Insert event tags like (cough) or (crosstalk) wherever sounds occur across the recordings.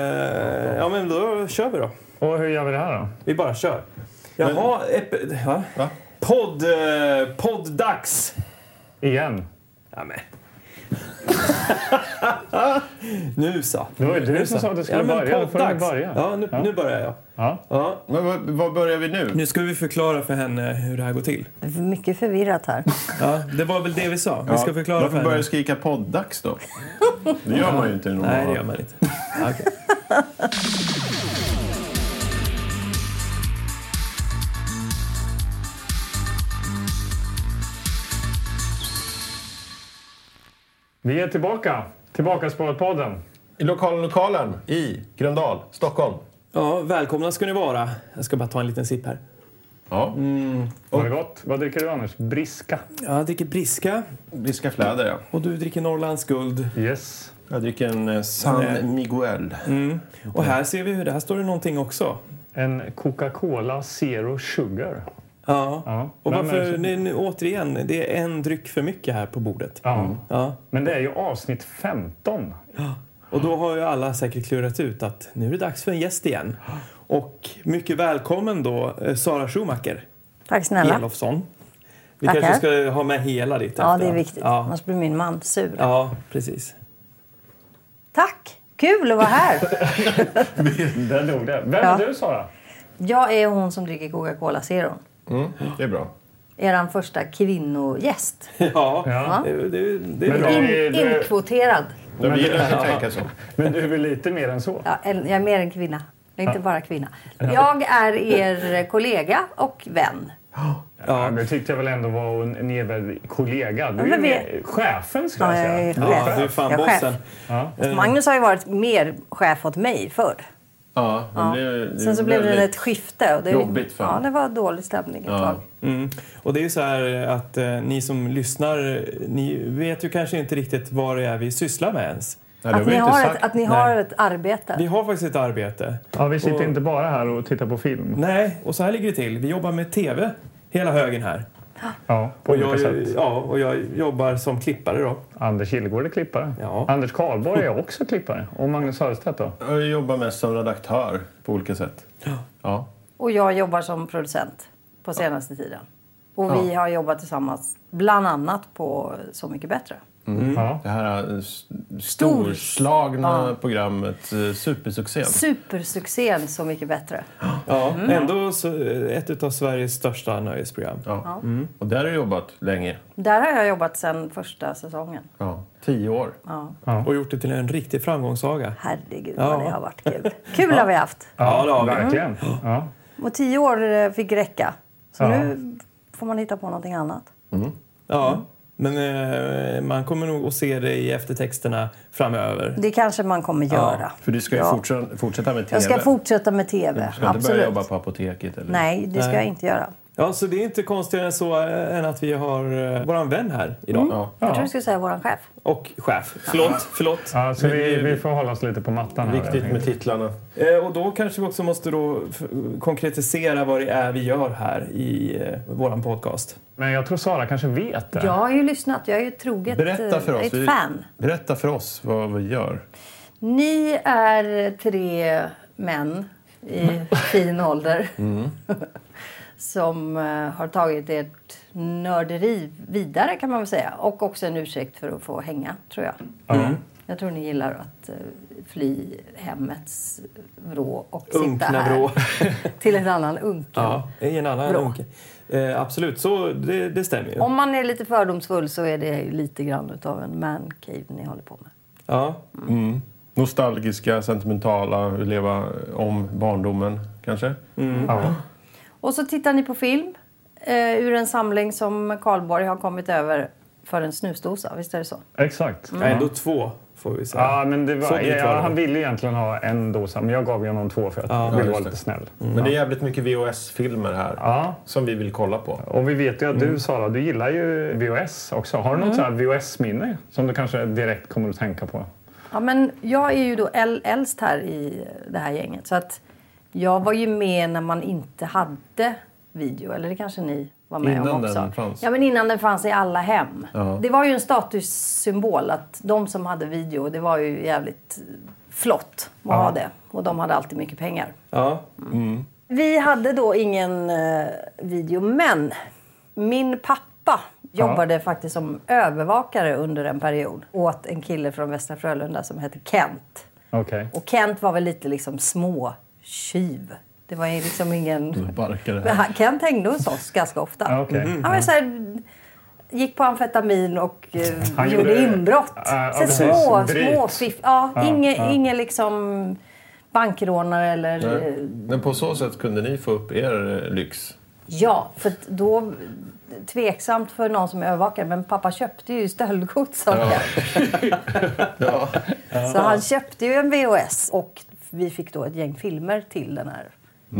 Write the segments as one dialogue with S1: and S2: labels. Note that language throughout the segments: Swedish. S1: Eh, ja, men då kör vi då.
S2: Och hur gör vi det här då?
S1: Vi bara kör. Jaha, ep, ja.
S3: Va?
S1: podd... Eh, podd-dags!
S2: Igen.
S1: Ja, men. (laughs) nu så.
S2: Det var ju du
S1: Nu
S2: som
S1: så.
S2: sa att du skulle
S1: ja, men
S2: börja. Då får du
S1: podd-dags.
S2: börja.
S1: Ja, nu,
S2: Ja.
S1: nu börjar jag.
S2: Ja.
S1: Ja.
S3: Men vad, vad börjar vi nu?
S1: Nu ska vi förklara för henne hur det här går till.
S4: Det är mycket förvirrat här.
S1: Ja, det var väl det vi sa. Vi ska förklara för
S3: Varför börjar
S1: henne.
S3: du skrika poddags då? Det gör man ju inte i normala
S1: Nej, det gör man inte. Ja, okej.
S2: Vi är tillbaka. Tillbaka podden.
S3: I lokalen lokalen i Gröndal, Stockholm.
S1: Ja, välkomna ska ni vara. Jag ska bara ta en liten sipp här.
S3: Ja, Mm,
S2: Var det gott? Vad dricker du Anders? Briska.
S1: Jag dricker Briska
S3: briska fläder ja.
S1: och du dricker Norrlands guld.
S2: Yes.
S3: Jag dricker en eh, Mm. San Miguel.
S1: Och här ser vi hur det här står det någonting också.
S2: En Coca-Cola Zero Sugar.
S1: Ja.
S2: Ja.
S1: Och
S2: Vem är det
S1: varför,
S2: som-
S1: nu, nu, återigen, det är en dryck för mycket här på bordet.
S2: Ja.
S1: Ja.
S2: Men det är ju avsnitt 15.
S1: Och då har ju alla säkert klurat ut att nu är det dags för en gäst igen. Och mycket välkommen då, eh, Sara Schumacher
S4: Tack snälla.
S1: Elofsson. Vi
S4: Tackar.
S1: kanske ska ha med hela ditt
S4: Ja, det är
S1: efternamn.
S4: viktigt.
S1: Ja,
S4: Annars blir min man sur.
S1: ja precis. (laughs)
S4: Tack! Kul att vara här.
S2: Där dog det. Vem
S4: Ja.
S2: är du Sara?
S4: Jag är hon som dricker Coca-Cola Zero.
S3: Det är bra.
S4: Er första kvinnogäst.
S1: Ja,
S2: Ja.
S1: det, det, det är
S2: Men
S1: bra.
S2: du-
S4: In,
S2: du-
S4: inkvoterad.
S3: Ja, vi gillar att tänka så.
S2: Men du är väl lite mer än så?
S4: Ja, en- jag är mer än kvinna. Jag är inte bara kvinna. Jag är er kollega och vän.
S2: Ja. Det tyckte jag väl ändå var en nedvärd kollega. Du är
S4: Ja, men
S2: ju
S4: vi-
S2: mer- chefen skulle
S4: Ja,
S2: jag
S4: jag är
S2: säga.
S1: Ja,
S4: chef.
S1: du är fan
S4: jag är
S1: bossen.
S4: chef.
S3: Eh.
S4: Magnus har ju varit mer chef åt mig förr.
S3: Ja, det blir- det
S4: Sen så blev det
S3: väldigt-
S4: ett skifte. Och det,
S3: jobbigt för
S4: Ja,
S3: honom.
S4: det var dålig stämning ett tag.
S1: Mm. Och det är ju så här att eh, ni som lyssnar, eh, ni vet ju kanske inte riktigt vad det är vi sysslar med ens.
S3: Nej, det
S4: Att ni,
S3: Alltså, inte
S4: har
S3: sagt.
S4: ett, att ni har
S1: Nej.
S4: ett arbete.
S1: Vi har faktiskt ett arbete.
S2: Ja, vi sitter
S1: Och-
S2: inte bara här och tittar på film.
S1: Nej, och så här ligger det till. Vi jobbar med TV, hela högen här.
S2: Ja, på
S1: Och
S2: olika
S1: jag,
S2: sätt.
S1: ja, och jag jobbar som klippare då.
S2: Anders Kilgård är klippare.
S1: Ja.
S2: Anders Karlborg är också klippare. Och Magnus Hörstedt då?
S3: Jag jobbar mest som redaktör på olika sätt. Ja.
S4: Och jag jobbar som producent på senaste tiden. Och vi har jobbat tillsammans, bland annat på Så mycket bättre.
S1: Mm.
S2: Ja.
S3: Det här eh, s- storslagna programmet, eh, supersuccén.
S4: Supersuccén Så mycket bättre.
S1: Ja, Mm. Ändå så, eh, ett av Sveriges största nöjesprogram.
S3: Ja. Mm. Och där har jag jobbat länge.
S4: Där har jag jobbat sedan första säsongen.
S3: Ja. Tio år.
S1: Och gjort det till en riktig framgångssaga.
S4: Herregud
S1: Ja.
S4: vad det har
S3: (laughs)
S4: varit kul. Kul har vi haft.
S1: Ja, det har vi.
S2: Verkligen. Ja.
S4: Och tio år eh, fick räcka. Så
S2: Ja.
S4: nu får man hitta på någonting annat.
S1: Ja. Men eh, man kommer nog att se det i eftertexterna framöver.
S4: Det kanske man kommer göra.
S3: För du ska ju
S4: Ja.
S3: fortsätta, fortsätta med TV.
S4: Jag ska fortsätta med TV.
S3: Du ska inte börja
S4: Absolut.
S3: jobba på apoteket eller?
S4: Nej, det ska
S1: Nej.
S4: jag inte göra.
S1: Ja, så det är inte konstigare än så eh, än att vi har eh, våran vän här idag.
S3: Ja.
S4: Jag tror du skulle säga våran chef.
S1: Och chef. Förlåt, förlåt.
S2: Ja, så vi, vi får hålla oss lite på mattan här.
S3: Viktigt med titlarna.
S1: Eh, och då kanske vi också måste då f- konkretisera vad det är vi gör här i eh, våran podcast.
S2: Men jag tror Sara kanske vet det.
S4: Jag har ju lyssnat. Jag är ju troget
S3: Berätta för
S4: eh,
S3: oss,
S4: ett
S3: vi-
S4: fan.
S3: Berätta för oss vad vi gör.
S4: Ni är tre män
S1: Mm.
S4: i
S1: (laughs)
S4: fin ålder (laughs) som eh, har tagit ert nörderi vidare kan man väl säga. Och också en ursäkt för att få hänga, tror jag. Jag tror ni gillar att eh, fly hemmets vrå och sitta
S1: Unkna
S4: här
S1: vrå.
S4: (laughs) till en annan unken.
S1: Ja, i en annan
S4: Bra.
S1: unke. Eh, absolut, så det, det stämmer ju.
S4: Om man är lite fördomsfull så är det ju lite grann av en mancave ni håller på med.
S1: Ja,
S3: Nostalgiska, sentimentala, leva om barndomen kanske?
S2: Ja.
S4: Och så tittar ni på film eh, ur en samling som Karlborg har kommit över för en snusdosa. Visst är det så?
S2: Exakt.
S1: ja,
S4: Mm.
S1: ändå två får vi säga.
S2: Ja, men det
S1: Så
S2: var,
S1: dyrt var
S2: ja,
S1: det.
S2: han ville egentligen ha en dosa, men jag gav ju honom två för att jag ville
S3: just
S2: vara
S3: det.
S2: lite snäll.
S1: Mm.
S3: Men det är jävligt mycket VHS-filmer här
S2: Ja,
S3: som vi vill kolla på.
S2: och vi vet ju att
S1: Mm.
S2: du Sara, du gillar ju VHS också. Har du något sånt här VHS-minne som du kanske direkt kommer att tänka på?
S4: Ja, men jag är ju då äl- äldst här i det här gänget. Så att jag var ju med när man inte hade video. Eller det kanske ni var med
S3: Innan
S4: om också.
S3: den fanns.
S4: Ja, men innan den fanns i alla hem.
S3: Ja.
S4: Det var ju en statussymbol att de som hade video, det var ju jävligt flott att ha det. Och de hade alltid mycket pengar.
S1: Ja.
S4: Vi hade då ingen eh, video, men min pappa jobbade faktiskt som övervakare under en period åt en kille från Västra Frölunda som hette Kent.
S2: Okej.
S4: Och Kent var väl lite liksom småtjuv. Det var ju liksom ingen...
S3: Barkare.
S4: Men han- (laughs) Kent hängde hos oss ganska ofta.
S2: Mm.
S4: Mm.
S2: Ja, okej.
S4: Han var så här, gick på amfetamin och eh,
S2: Han
S4: gjorde,
S2: gjorde-
S4: inbrott.
S2: Ja, ja,
S4: så
S2: precis.
S4: små,
S2: Bryt.
S4: små fiff, ja,
S2: Ja,
S4: ingen,
S2: ja.
S4: ingen liksom bankrånare eller...
S3: Nej. Men på så sätt kunde ni få upp er eh, lyx.
S4: Ja, för att då... Tveksamt för någon som övervakar, men pappa köpte ju stöldgods av det.
S3: Ja.
S4: Så han köpte ju en VHS och vi fick då ett gäng filmer till den här.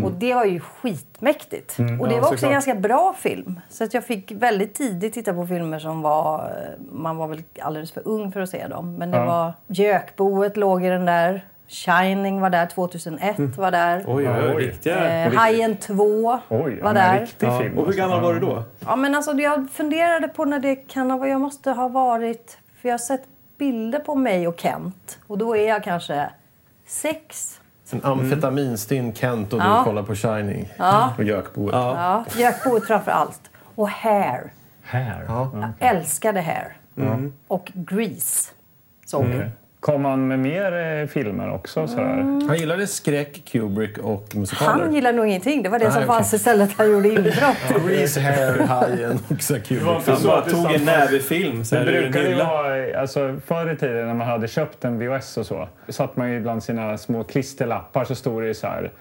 S4: Och det var ju skitmäktigt. och det
S1: ja,
S4: var också
S1: såklart.
S4: en ganska bra film. Så att jag fick väldigt tidigt titta på filmer som var... eh, Man var väl alldeles för ung för att se dem. Men det
S2: Ja.
S4: var... Gökboet låg i den där. Shining var där. 2001 var där.
S1: Oj, oj, oj.
S2: Oj.
S1: Riktiga...
S4: Eh, Hajen 2
S2: Oj, ja,
S4: var
S2: men
S4: där.
S2: riktig
S1: Ja.
S2: film.
S1: Och hur
S2: alltså.
S1: gammal
S2: Ja.
S1: var du då?
S4: Ja, men alltså, jag funderade på när det kan ha varit. Jag måste ha varit... För jag har sett bilder på mig och Kent. Och då är jag kanske sex.
S3: (laughs) En amfetaminstinn Kent och du
S4: Ja.
S3: kollar på Shining och Jökboet.
S4: Ja, Gökboet framför allt. Och Hair.
S2: Här? Ja.
S4: Jag älskade Hair. Och Grease. Så.
S2: Okej. Kom han med mer eh, filmer också? Sådär?
S3: Han gillade skräck, Kubrick och musikaler.
S4: Han gillade nog ingenting. Det var det
S3: Nej,
S4: som
S3: okej.
S4: fanns istället. Han gjorde inbrott.
S3: Grease, Hair, (laughs) Hajen och så här Kubrick.
S1: Han bara tog en
S2: samma-
S1: näve film så
S2: Det
S1: här ur en
S2: brukade ju
S1: hylla.
S2: vara, alltså förr i tiden när man hade köpt en VHS och så, satt man ju bland sina små klisterlappar så stod det ju så här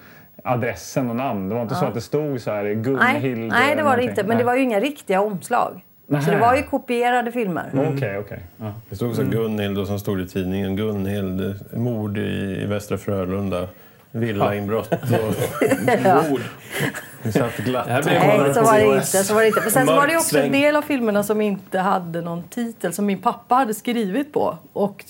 S2: adressen och namn. Det var inte så att det stod så här
S4: Nej,
S2: Gunhild
S4: nej, det var det inte. Men det var ju inga riktiga omslag. Så det
S2: Nej. Mm.
S4: var ju kopierade filmer.
S2: Okej, okej. Ja.
S3: Det stod också Gunhild och sen stod det i tidningen Gunhild, mord i i Västra Frölunda. Villainbrott (laughs) och
S4: (laughs) Ja.
S1: Ord.
S3: vi satt glatt
S1: Det här blir
S3: och kollade
S4: Nej, så
S3: på
S4: var det
S3: VHS.
S4: inte. Så var det inte. Men sen så var det ju också en
S1: Mörksväng.
S4: del av filmerna som inte hade någon titel som min pappa hade skrivit på och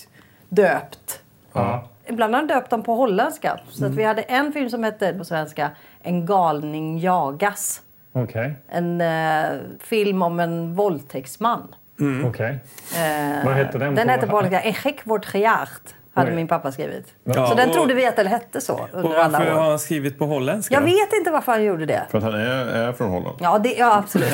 S4: döpt.
S2: Ja.
S4: Ibland har han döpt dem på holländska. Så
S1: Mm.
S4: att vi hade en film som hette på svenska En galning jagas.
S2: Okej,
S4: En eh, film om en våldtäktsman.
S2: okej.
S4: Eh,
S2: Vad hette den
S4: Den
S2: på-
S4: hette på holländska Echek vårt gejacht. Hade
S2: Oj.
S4: min pappa skrivit.
S1: Ja,
S4: så den
S1: och-
S4: trodde vi att den hette så
S1: Och
S4: under alla
S1: varför
S4: år.
S1: har han skrivit på holländska?
S4: Jag
S1: då?
S4: vet inte varför han gjorde det.
S3: För att han är, är från Holland.
S4: Ja, det, ja absolut.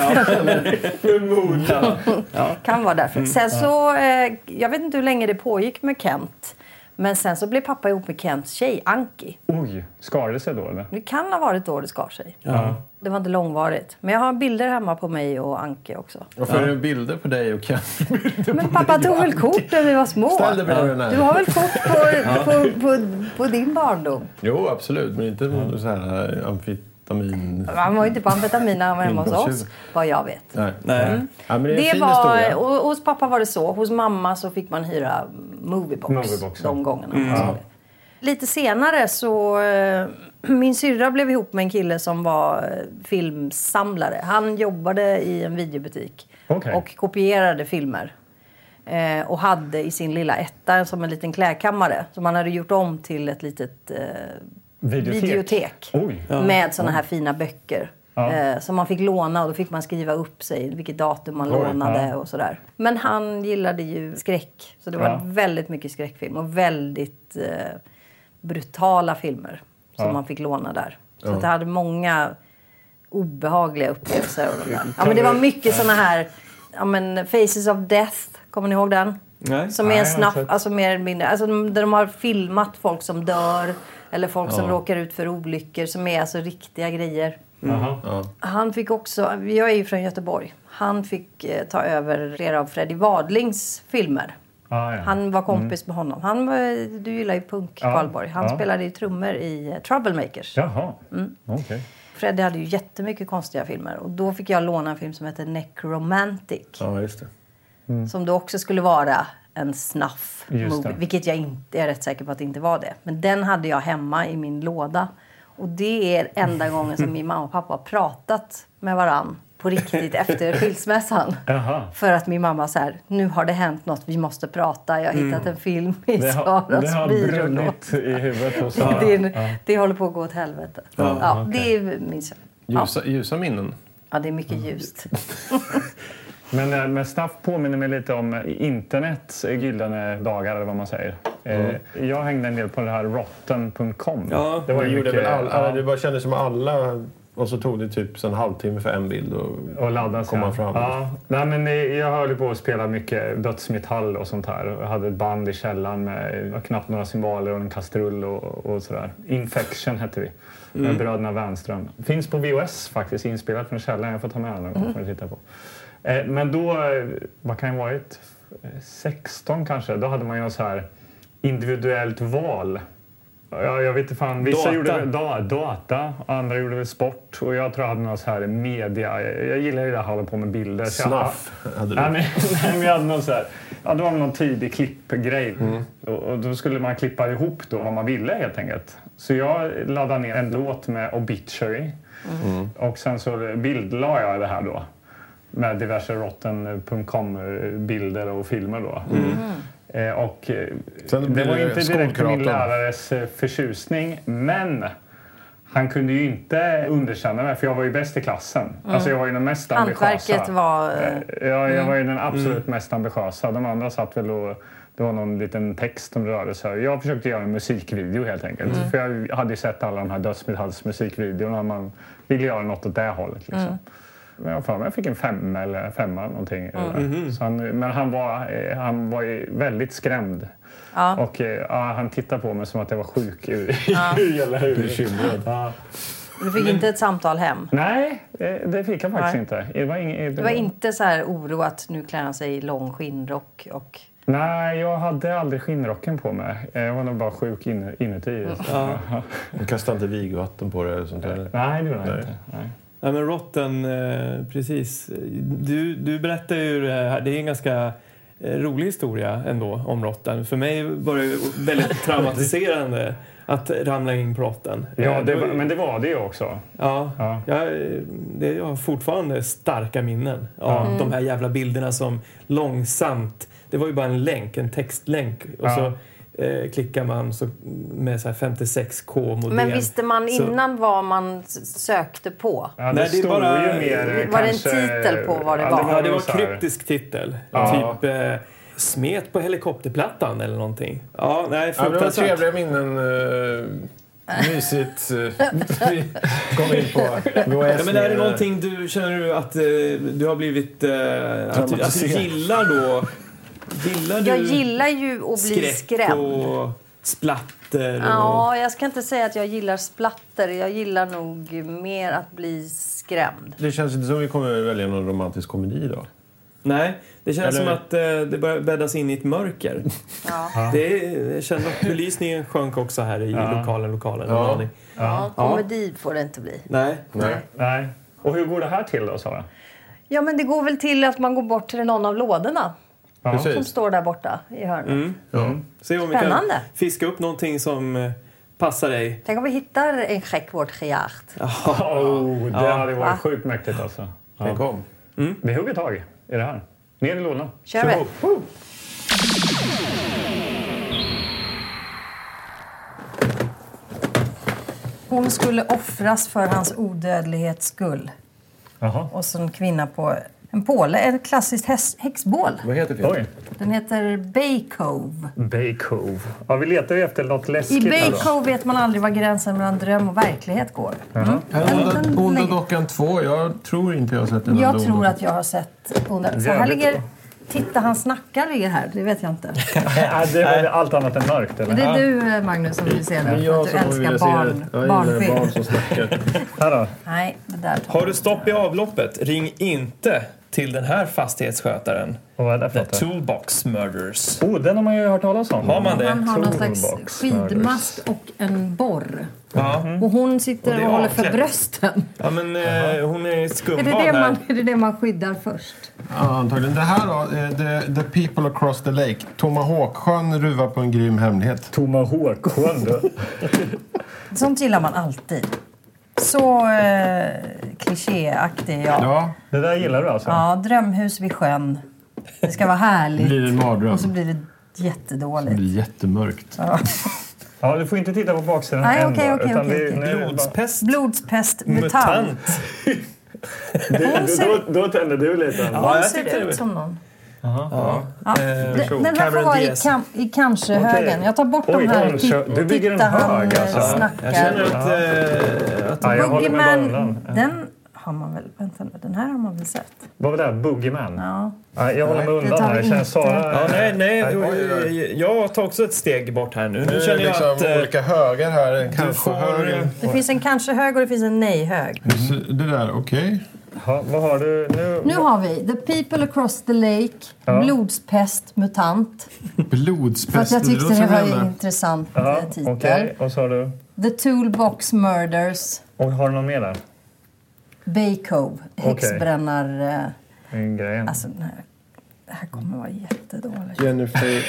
S4: kan vara därför.
S3: Mm.
S4: Sen så, eh, jag vet inte hur länge det pågick med Kent. Men sen så blev pappa ihop med Kents tjej Anki.
S2: Oj, skar det sig då eller?
S4: Det kan ha varit då det skar sig.
S1: Ja.
S4: Det var inte långvarigt. Men jag har bilder hemma på mig och Anki också.
S3: (laughs) Varför är det bilder på dig och (laughs) Kent?
S4: Men pappa tog väl kort när vi var små?
S3: Ställ dig bredvid den
S4: Du
S3: här.
S4: har väl kort
S3: (laughs)
S4: på, på, på, på din barndom?
S3: Jo, absolut. Men inte så här eh, amfetamin...
S4: Han var ju inte på amfetamin när han var hemma hos oss,
S3: Inbrottsjuv.
S4: vad jag vet.
S3: Nej.
S1: Nej.
S3: Ja, men det är en
S4: Det
S3: fin
S4: var,
S3: historia.
S4: och, hos pappa var det så. Hos mamma så fick man hyra moviebox,
S2: Moviebox, ja. Mm.
S4: de gångerna. Lite senare så... eh, Min syrra blev ihop med en kille som var eh, filmsamlare. Han jobbade i en videobutik
S2: Okej.
S4: och kopierade filmer. Eh, och hade i sin lilla etta som en liten klädkammare som han hade gjort om till ett litet eh,
S2: Videotek.
S4: videotek
S2: Oj.
S4: med såna här fina böcker.
S2: Ja.
S4: Eh, som man fick låna och då fick man skriva upp sig vilket datum man
S2: Oj,
S4: lånade
S2: ja.
S4: och sådär. Men han gillade ju skräck. Så det var
S2: Ja.
S4: väldigt mycket skräckfilm och väldigt eh, brutala filmer som
S2: Ja.
S4: man fick låna där. Så
S3: Ja.
S4: att jag hade många obehagliga upplevelser. av de där. Ja, men det var mycket såna här ja, men Faces of Death, kommer ni ihåg den?
S1: Nej.
S4: Som är
S2: Nej,
S4: en
S2: jag har
S4: snabb,
S2: inte sett.
S4: alltså mer eller mindre, alltså de- där de har filmat folk som dör eller folk som råkar ut för olyckor som är alltså riktiga grejer.
S2: Jaha.
S4: Han fick också, jag är ju från Göteborg, han fick eh, ta över flera av Freddy Wadlings filmer.
S2: Ah, ja.
S4: Han var kompis med honom. Han var, du gillar ju punk,
S2: Ja,
S4: Karlborg. Han
S2: ja.
S4: spelade ju trummor i eh, Troublemakers.
S2: Jaha,
S4: Mm.
S2: okej.
S4: Freddy hade ju jättemycket konstiga filmer och då fick jag låna en film som heter Necromantic.
S3: Ja, just det.
S4: Som då också skulle vara en snuff
S2: Mm. Just
S4: movie.
S2: det.
S4: Vilket jag inte jag är rätt säker på att det inte var det. Men den hade jag hemma i min låda. Och det är enda gången som min mamma och pappa har pratat med varann
S2: (laughs)
S4: på riktigt efter skilsmässan.
S2: Jaha.
S4: För att min mamma så här, nu har det hänt något, vi måste prata. Jag har hittat en film i
S2: Mm. Det har, det
S4: Saras
S2: har
S4: byrålåda.
S2: brunnit i huvudet hos
S4: (laughs) Det, är
S2: Sara.
S4: en- det håller på att gå åt helvete. Ja, Det är min sö- ja.
S3: Ljusa, ljusa minnen.
S4: ja, det är
S2: Mm.
S4: mycket ljust.
S2: Men, eh, men Staff påminner mig lite om internets eh, gyllene eh, dagar eller vad man säger. Eh, jag hängde en del på det här rotten.com.
S1: Ja,
S2: det var
S3: Det
S2: ju
S3: gjorde
S2: mycket
S3: väl alla.
S2: ja,
S3: Det bara kändes som alla. Och så tog det typ så en halvtimme för en bild. Och,
S2: och ladda sen.
S3: komma fram.
S2: Ja. Nej, men eh, jag höll på att spela mycket dödsmetall och sånt här. Jag hade ett band i källaren med eh, knappt några cymbaler och en kastrull och, och sådär. Infection hette vi.
S3: Mm.
S2: Med bröderna Wernström. Finns på VHS faktiskt, inspelat från källaren. Jag får ta med den någon
S3: Mm.
S2: gång för att titta på. Eh, Men då, eh, vad kan jag ha varit? Eh, 16 kanske. Då hade man ju något så här individuellt val. Ja, jag vet inte fan. Vissa
S1: Data.
S2: gjorde väl da, data, andra gjorde väl sport och jag tror jag hade någon så här media. Jag, jag gillar ju det här att hålla på med bilder. så jag-
S3: Snaff hade du.
S2: Nej, men, (laughs) nej, men jag hade någon så här, ja, det var någon tidig klippgrej.
S3: Mm.
S2: Och, och då skulle man klippa ihop då vad man ville helt enkelt. Så jag laddade ner en låt med Obituary.
S3: Mm.
S2: Och sen så bildlade jag det här då. Med diverse rotten.com-bilder och filmer då.
S4: Mm.
S2: Eh, och eh,
S3: Mm. Sen
S2: det
S3: blir
S2: var
S3: det
S2: inte direkt min
S3: skolkraton.
S2: lärares eh, förtjusning, men han kunde ju inte underkänna mig, för jag var ju bäst i klassen. Alltså jag var ju den mest
S4: Mm. Hantverket
S2: ambitiösa.
S4: var... eh,
S2: Eh, Ja, jag var ju den
S4: Mm.
S2: absolut mest ambitiösa. De andra satt väl och det var någon liten text som rörde sig. Jag försökte göra en musikvideo helt enkelt.
S4: Mm.
S2: För jag hade ju sett alla de här dödsmetallsmusikvideorna. Man ville göra något åt det hållet liksom.
S4: Mm.
S2: Men jag har för mig jag fick en femma eller femma eller någonting.
S4: Mm.
S2: Eh, Så han, men han var, eh, han var ju väldigt skrämd.
S4: Ja.
S2: Och eh, ja, han tittade på mig som att jag var sjuk i, (laughs) i hela huvudet.
S3: Bekymrad.
S2: Ja.
S4: Du fick inte ett samtal hem?
S2: Nej, eh, det fick han faktiskt
S4: Nej.
S2: inte. Det var, ing,
S4: Det var inte så här oro att nu klär han sig i lång skinnrock och...
S2: Nej, jag hade aldrig skinnrocken på mig. Eh, Jag var nog bara sjuk in, inuti.
S4: Mm.
S2: Så.
S3: Kasta inte vigvatten på det eller sånt där.
S2: Nej, det var jag
S3: Nej.
S2: inte. Nej.
S1: Ja, men Rotten, eh, precis. Du, du berättar ju det här. Det är en ganska eh, rolig historia ändå om Rotten. För mig var det ju
S2: (laughs)
S1: väldigt traumatiserande att ramla in på Rotten.
S2: Ja,
S1: Eh,
S2: det
S1: då-
S2: var, men det var det ju också.
S1: Ja,
S2: Ja.
S1: Jag, eh, det, jag har fortfarande starka minnen av de här jävla bilderna som långsamt... Det var ju bara en länk, en textlänk. Och
S2: Ja.
S1: så eh, klickar man så, med så här 56k-modem.
S4: Men visste man
S1: Så-
S4: innan vad man s- sökte på?
S2: Ja, det
S1: Nej, det är
S2: stod
S1: bara-
S2: ju mer... eh,
S1: Var
S4: det en
S2: kanske-
S4: titel på vad det var?
S1: Ja, det
S2: väl
S1: var
S2: så här-
S1: kryptisk titel.
S2: Ja.
S1: Typ eh, smet på helikopterplattan eller någonting. Ja, nej,
S3: Ja, men det var
S1: fruktansvärt.
S3: trevliga minnen. Uh,
S4: (laughs)
S3: mysigt. eh, vi kom in på VHS.
S1: Ja, men är det någonting du känner du att eh, du har blivit... Eh, att, du, att du
S3: Traumatiserad.
S1: gillar då... Gillar du
S4: Jag gillar ju att bli skrämd.
S1: och splatter? Och,
S4: Ja, jag ska inte säga att jag gillar splatter. Jag gillar nog mer att bli skrämd.
S3: Det känns inte som vi kommer välja någon romantisk komedi då.
S1: nej, det känns
S3: Eller-
S1: som att eh, det börjar bäddas in i ett mörker.
S4: Ja.
S1: Det är, jag känner att belysningen sjönk också här i lokalen. lokalen
S3: Ja.
S1: en aning.
S4: Ja, komedi får det inte bli.
S1: Nej.
S3: Nej.
S2: Nej. Och hur går det här till då, Sara?
S4: Ja, men det går väl till att man går bort till någon av lådorna
S2: Ja.
S4: som
S3: Precis.
S4: står där borta i hörnet.
S3: Ja.
S1: Se om vi
S4: Spännande.
S1: kan fiska upp någonting som eh, passar dig.
S4: Tänk om vi hittar en check vårt gejagt.
S2: Oh, det hade varit
S4: Va?
S2: sjukt mäktigt alltså.
S3: Den kom.
S1: Mm.
S2: Vi hugger tag i det här. Ner i lådan.
S4: Kör vi.
S2: Oh.
S4: Hon skulle offras för hans odödlighets skull.
S2: Jaha.
S4: Och så en kvinna på en påle, ett klassiskt häs- häxbål.
S3: Vad heter filmen?
S2: Oj.
S4: Den heter Bay Cove.
S2: Bay Cove. Ja, vi letar ju efter något
S4: I
S2: läskigt. här
S4: Bay
S2: då.
S4: Cove vet man aldrig var gränsen mellan dröm och verklighet går. Mm.
S3: Här
S4: En
S3: är
S4: liten-
S3: Onda- Onda
S4: nej.
S3: Dockan 2. Jag tror inte jag har sett den.
S4: Jag
S3: Onda
S4: tror
S3: Dockan.
S4: att jag har sett onda. Så här
S2: Jävligt
S4: ligger...
S2: bra.
S4: Titta, han snackar ligger här. Det vet jag inte.
S2: Nej, Äh, det var allt annat än mörkt, eller?
S4: Det är du, eh, Magnus, som vill se
S3: Det är
S4: den. För att
S3: jag
S4: du
S3: som kommer vilja
S4: älskar
S3: se
S4: barn.
S3: det. Jag gillar barn
S4: Barnfilm.
S3: som snackar.
S4: (laughs)
S2: Här då.
S4: Nej, det där tar
S1: Har du stopp i avloppet? Ring inte till den här fastighetsskötaren.
S2: Och vad är det för
S1: The
S2: något?
S1: Toolbox Murders.
S2: Oh, den har man ju hört talas om.
S1: Har man det?
S4: Han har någon slags
S2: Toolbox,
S4: skidmask och en borr.
S1: Ja.
S4: Och hon
S1: Och
S4: sitter
S1: det är
S4: och håller för
S1: avklätt.
S4: brösten.
S1: ja men eh, hon är
S4: Är det
S1: skumvan
S4: det, man,
S1: här.
S4: är det det man skyddar först?
S3: Ja, antagligen. Det här då, eh, the, the People Across the Lake. Tomahawksjön ruvar på en grym hemlighet.
S2: Tomahawk-sjön du.
S4: Sånt gillar man alltid. Så eh, klichéaktig, ja. ja.
S3: Ja,
S2: Det där gillar du alltså?
S4: Drömhus vid sjön. Det ska vara
S3: det
S4: härligt.
S3: blir en mardröm.
S4: Och så blir det jättedåligt.
S3: Det blir jättemörkt.
S2: Ja, du får inte titta på baksidan
S4: Nej,
S2: än
S4: okej,
S2: då,
S4: okej,
S2: utan
S4: okej,
S2: vi-
S4: okej.
S2: nu är det bara-
S1: Blodspest.
S4: Blodspest, mutant.
S1: Mutant.
S2: Du- du- Då, då tände du lite.
S4: Hon
S1: jag
S4: ser
S1: tyckte det var-
S4: ut som någon.
S1: Ja.
S4: Ja.
S1: Eh,
S4: Den, den här får
S1: Cameron
S4: vara i,
S1: Diaz.
S4: kam, i kanske-högen.
S2: Okej.
S4: Jag tar bort
S2: Oj,
S4: de här
S2: kanske-
S4: titt-
S2: du bygger en
S4: titta han
S2: hög, alltså.
S4: eh,
S1: Jag känner
S4: snackar.
S1: att... Eh, att
S2: Ja, jag håller med
S4: Boogeyman,
S2: Daniel. Ja.
S4: den har man väl... Vänta nu, den här har man väl sett?
S2: Vad var det? här? Boogeyman?
S4: Ja.
S2: Ja, jag håller mig
S4: det
S2: undan
S4: tar
S2: här.
S4: vi
S2: Jag känner
S4: inte.
S2: Sara...
S1: ja, nej, nej,
S3: Oj, oj,
S1: jag tar också ett steg bort här nu.
S3: Nu
S1: Nu
S3: är det
S1: känner jag
S3: liksom
S1: att... eh,
S3: olika högar här.
S1: Du
S3: Kanske
S1: får... eh,
S3: höger.
S4: Det finns en kanske-hög och det finns en nej-hög.
S3: Så Det där, okej.
S2: Ja, vad har du nu?
S4: Nu har vi The People Across the Lake, Blodspest, Mutant. För att
S3: Blodspest.
S4: jag tyckte det
S3: låter
S4: var
S3: som
S4: en
S3: jävla-
S4: intressant
S2: Ja,
S4: eh, titel.
S2: Okej, och så har du...
S4: The Toolbox Murders,
S2: Och har du någon mer där?
S4: Bay Cove, häxbrännar... eh,
S2: En grej.
S4: Alltså, den här, det här kommer vara jättedåligt.
S5: Jennifer,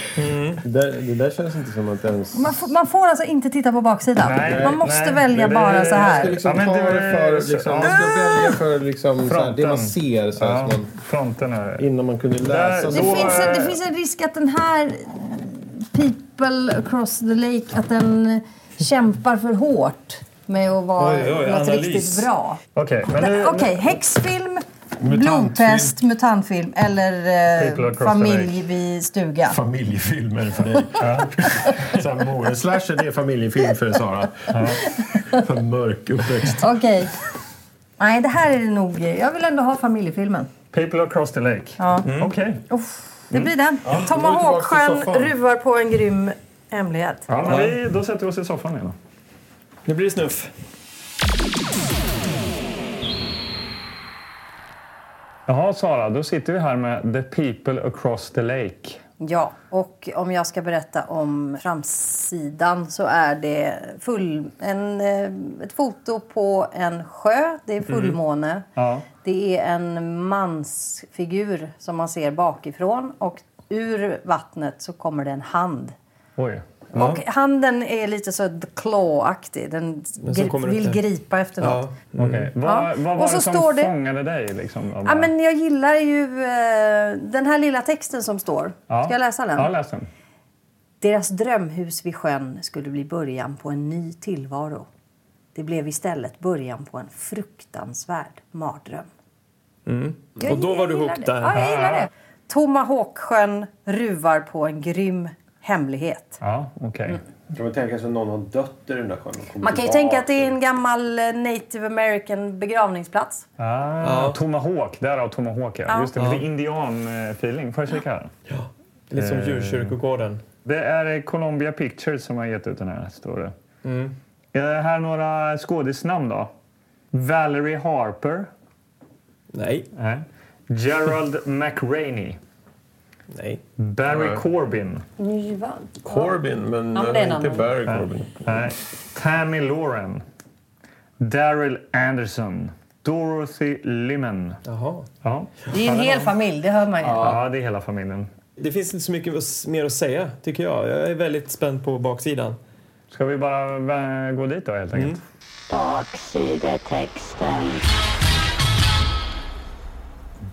S5: det, där, det där känns inte som att ens...
S4: Man får, man får alltså inte titta på baksidan.
S2: Nej,
S4: man måste
S2: nej,
S4: välja
S2: det-
S4: bara så
S5: Man ska
S4: här.
S5: liksom
S2: Ja, men
S5: ta
S2: det-
S5: det för, liksom, man ska välja för liksom, så här, det
S2: Fronten.
S5: man ser så här,
S2: Ja,
S5: som man,
S2: fronten här.
S5: innan man kunde läsa.
S2: Där-
S4: Det
S5: så.
S2: Då-
S4: finns, en, det finns en risk att den här People across the lake, att den kämpar för hårt med att vara
S1: Oj, oj,
S4: något
S1: analys.
S4: riktigt bra.
S2: Okej, men nu...
S4: Okej, häxfilm,
S3: Mutantfilm.
S4: blodtest, mutantfilm eller
S2: People
S4: eh,
S2: across the
S4: familj vid stuga.
S3: Familjefilmer för dig. Så här, mor- Slasher det är familjefilm för Sara. För mörk uppväxt.
S4: Okej. Nej, det här är det nog. Jag vill ändå ha familjefilmen.
S2: People across the lake.
S4: Ja.
S1: Mm.
S2: Okej.
S4: Uff, det blir den.
S3: tillbaka till
S4: Tomahawksjön
S3: soffan.
S4: ruvar på en grym hemlighet.
S2: Ja, men vi, då sätter vi oss i soffan igen. då.
S1: Nu blir det snuff.
S2: Jaha, Sara, då sitter vi här med The People Across the Lake.
S4: Ja, och om jag ska berätta om framsidan så är det full, en, eh, ett foto på en sjö.
S1: Mhm.
S4: Det är fullmåne.
S2: Ja.
S4: Det är en mansfigur som man ser bakifrån och ur vattnet så kommer det en hand.
S2: Oj.
S4: Och handen är lite så the claw-aktig. Den
S1: så
S4: grip,
S1: kommer det
S4: vill
S1: inte.
S4: gripa efter något.
S1: Ja.
S2: Okej. Vad,
S4: Ja.
S2: vad
S4: Och
S2: var
S4: så
S2: det som
S4: står det-
S2: fångade dig? Liksom, av
S4: Ja,
S2: det här?
S4: men jag gillar ju eh, den här lilla texten som står.
S2: Ja.
S4: Ska jag läsa den?
S2: Ja, läs den.
S4: Deras drömhus vid sjön skulle bli början på en ny tillvaro. Det blev istället början på en fruktansvärd mardröm. Jag
S1: Mm. Och då var du
S4: gillar
S1: hooked
S4: det.
S1: där.
S4: Ja, jag gillar det. Tomahawksjön ruvar på en grym hemlighet.
S2: Ja, okej.
S4: Mm.
S5: Kan man tänka sig att någon har dött i den där sjön? och kommit
S4: Man kan ju
S5: tillbaka?
S4: tänka att det är en gammal eh, native american begravningsplats.
S2: Ah, Tomahawk. Därav Tomahawk, ja.
S4: Ja.
S2: Just det, lite indian-feeling. Får jag kika här?
S1: Lite
S3: Eh.
S1: som djurkyrkogården.
S2: Det är Columbia Pictures som har gett ut den här, står det.
S4: Mm.
S2: Eh, här några skådisnamn då. Valerie Harper.
S1: Nej,
S2: Nej. Gerald
S4: (laughs)
S2: McRaney.
S1: nej.
S2: Barry
S3: Nej.
S2: Corbin.
S4: Nyvald.
S3: Corbyn, men,
S4: Ja, men det är en
S3: inte
S4: annan.
S3: Barry Corbyn.
S2: Nej. Tammy Lauren. Daryl Anderson. Dorothy Liman.
S1: Jaha.
S2: Ja.
S4: Det är ju en hel familj, det hör man ju.
S2: ja, det är hela familjen.
S1: Det finns inte så mycket att- mer att säga, tycker jag. Jag är väldigt spänd på baksidan.
S2: Ska vi bara eh, gå dit då helt enkelt?
S6: Baksidetexten.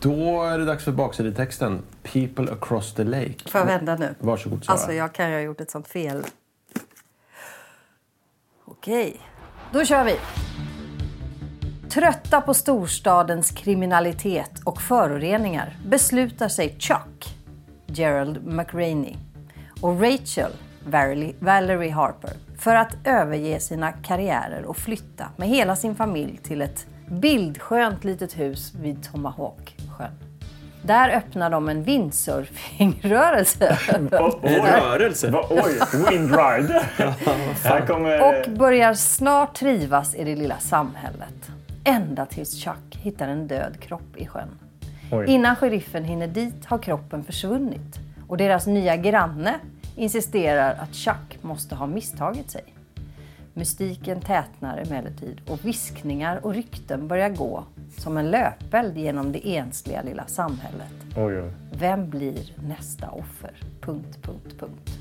S5: Då är det dags för baksidetexten. People across the lake.
S4: Får jag vända nu?
S5: Varsågod Sara.
S4: Alltså, jag kan ju ha gjort ett sånt fel. Okej, då kör vi. Trötta på storstadens kriminalitet och föroreningar beslutar sig Chuck, Gerald McRaney, och Rachel, Valerie- Valerie Harper, för att överge sina karriärer och flytta med hela sin familj till ett bildskönt litet hus vid Tomahawk-sjön. Där öppnar de en windsurfingrörelse.
S2: Oh, oj.
S1: Rörelse.
S2: Va, oj, (laughs) Windride. Här kommer...
S4: Och börjar snart trivas i det lilla samhället. Ända tills Chuck hittar en död kropp i sjön.
S2: Oj.
S4: Innan sheriffen hinner dit har kroppen försvunnit och deras nya granne insisterar att Chuck måste ha misstagit sig. Mystiken tätnar emellertid och viskningar och rykten börjar gå som en löpeld genom det ensliga lilla samhället.
S2: Oj, oj.
S4: Vem blir nästa offer? Punkt, punkt, punkt.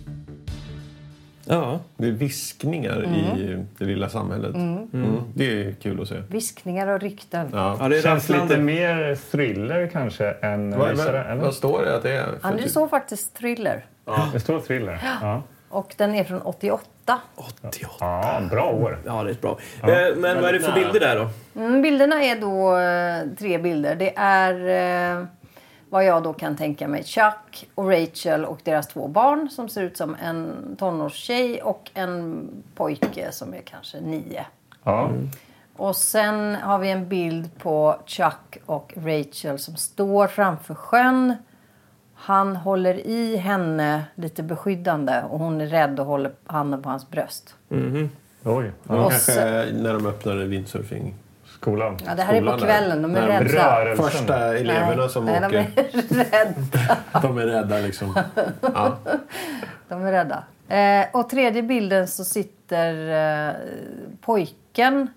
S1: Ja.
S3: Det är viskningar i det lilla samhället. Mm. Det är kul att se.
S4: Viskningar och rykten.
S1: ja, det är
S2: Känns lite
S1: rafflande.
S2: mer thriller kanske än
S3: Vad,
S2: rysare.
S3: vad,
S2: eller?
S3: vad står det att det är?
S4: Ja,
S3: för
S4: det
S3: typ?
S4: står faktiskt thriller.
S2: Det står thriller. Ja.
S4: Och den är från 88.
S1: 88.
S2: ja, bra år.
S1: Ja, det är bra. Eh, Men vad är det för bilder där då?
S4: Mm, bilderna är då eh, tre bilder. Det är eh, vad jag då kan tänka mig Chuck och Rachel och deras två barn som ser ut som en tonårstjej och en pojke som är kanske nio.
S2: Ja.
S4: Och sen har vi en bild på Chuck och Rachel som står framför sjön. Han håller i henne lite beskyddande och hon är rädd och håller handen på hans bröst.
S2: Oj.
S5: Det var
S4: Och
S5: kanske (laughs)
S4: sen-
S5: när de öppnade windsurfing.
S2: Skolan.
S4: Ja, det här är på
S5: skolan där.
S4: kvällen, de är
S5: Nej, men
S4: rädda.
S2: Rörelsen.
S5: Första eleverna
S4: Nej,
S5: som
S4: nej, de
S5: åker,
S4: är (laughs) rädda.
S5: de är rädda
S4: (laughs)
S5: liksom. Ja.
S4: De är rädda. Eh, och tredje bilden så sitter eh, pojken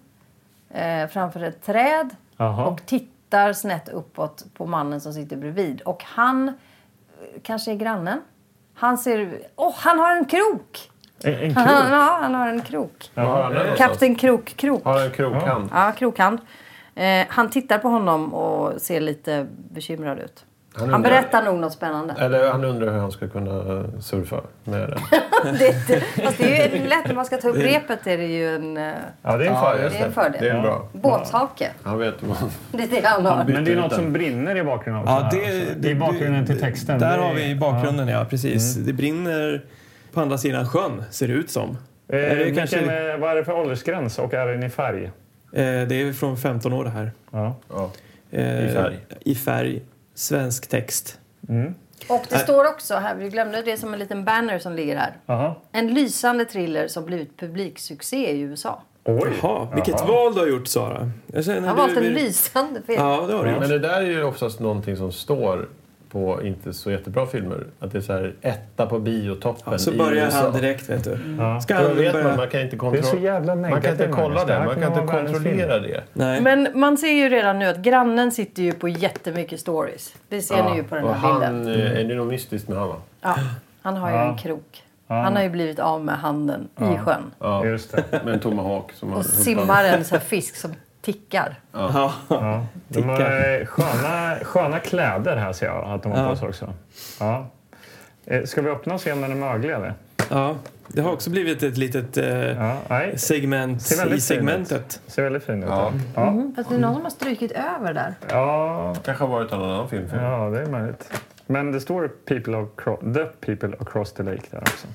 S4: eh, framför ett träd
S2: Jaha.
S4: och tittar snett uppåt på mannen som sitter bredvid. Och han eh, kanske är grannen. Han ser... Åh, han har en krok!
S2: En, en
S4: Han, han, (laughs)
S2: krok.
S4: ja, han har en krok.
S5: Vad har han där någonstans?
S4: Kapten Krok-krok.
S5: Har en krokhand.
S4: Ja, krokhand. Eh, han tittar på honom och ser lite bekymrad ut.
S5: Han
S4: Han
S5: undrar-
S4: berättar nog något spännande.
S5: Eller han undrar hur han ska kunna eh, surfa med den.
S4: Det, det, fast det är ju lätt när man ska ta upp repet är det ju en... eh,
S2: Ja, det är en fördel.
S4: det är en fördel.
S5: Det är bra.
S4: Båtshake.
S5: Han vet vad han...
S4: Det är det han har.
S2: Men det är något som brinner i bakgrunden också.
S1: Ja,
S2: här,
S1: det,
S2: alltså. I bakgrunden till texten.
S1: Där
S2: Det är-
S1: har vi bakgrunden, ja. precis. Det brinner på andra sidan sjön, ser det ut som.
S2: Eh,
S1: Eller
S2: vilken,
S1: kanske-
S2: eh, vad är det för åldersgräns och är den i färg?
S1: Eh, Det är från 15 år det här.
S2: Ja.
S5: Ja.
S1: Eh,
S5: I färg.
S1: I färg. Svensk text.
S2: Mm.
S4: Och det står också här, vi glömde det som en liten banner som ligger här.
S2: Jaha.
S4: En lysande thriller som blivit publiksuccé i USA.
S2: Oj.
S1: Jaha, vilket val du har gjort Sara. Jag känner
S4: Han
S1: du-
S4: har valt en
S1: du-
S4: lysande film.
S1: Ja, det har du
S5: Men
S1: gjort.
S5: det där är ju oftast någonting som står på inte så jättebra filmer. Att det är så här etta på biotoppen
S1: Ja, så
S5: i
S1: börjar
S5: USA.
S1: han direkt vet du.
S2: Ja.
S1: Ska
S5: Då
S1: han
S5: vet man,
S1: börja...
S5: man kan inte,
S2: Det är så
S5: kontro-
S2: jävla
S5: man kan
S2: negativt.
S5: inte kolla
S2: Magnus. Det
S5: det.
S2: här
S5: Man
S2: kan
S5: kan inte
S2: vara världens
S5: kontrollera det.
S1: Nej.
S4: Men man ser ju redan nu att grannen sitter ju på jättemycket stories. Det ser ni ju på den
S5: Och
S4: här bilden.
S5: han eh, är det något mystiskt med honom.
S4: Ja, han har ju
S2: Ja.
S4: en krok. Han har ju blivit av med handen i sjön.
S5: Ja.
S2: Just det.
S5: Med en tomahawk som har
S4: Och simmar en sån här fisk som tickar.
S1: Ja.
S2: Ja. De har eh, sköna, sköna kläder här ser jag att de har på sig också. Ja. Eh, Ska vi öppna och se om den är möglig eller?
S1: ja, det har också blivit ett litet eh,
S2: Ja. Nej.
S1: segment
S2: Ser väldigt
S1: i segmentet.
S2: Ser väldigt fin ut.
S5: Ja.
S2: Ja.
S4: Fast det är någon som har strukit över där.
S2: Ja.
S5: Kanske har varit en annan film. För.
S2: ja, det är möjligt. Men det står people across, The People Across the Lake där också.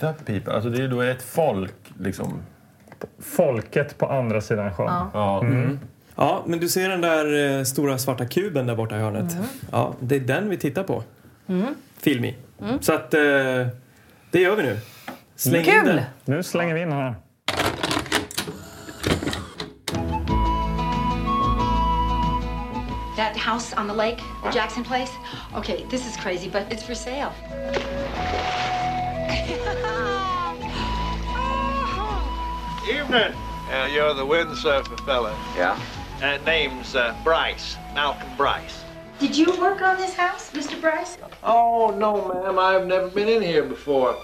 S5: The people. Alltså det är då ett folk liksom.
S2: Folket på andra sidan sjön.
S4: Ja.
S5: Ja.
S2: Mm.
S1: Ja, men du ser den där eh, stora svarta kuben där borta i hörnet.
S4: Mm.
S1: Ja, det är den vi tittar på. Film i.
S4: Mm.
S1: Så att eh, det gör vi nu. Släng in den.
S4: Kul!
S2: Nu slänger vi in här.
S6: That house on the lake, the Jackson Place? Okay, this is crazy, but it's for sale. (laughs)
S7: Evening. Uh, you're the windsurfer fella.
S8: Yeah?
S7: Uh, name's uh, Bryce, Malcolm Bryce.
S6: Did you work on this house, Mr. Bryce?
S7: Oh, no, ma'am. I've never been in here before.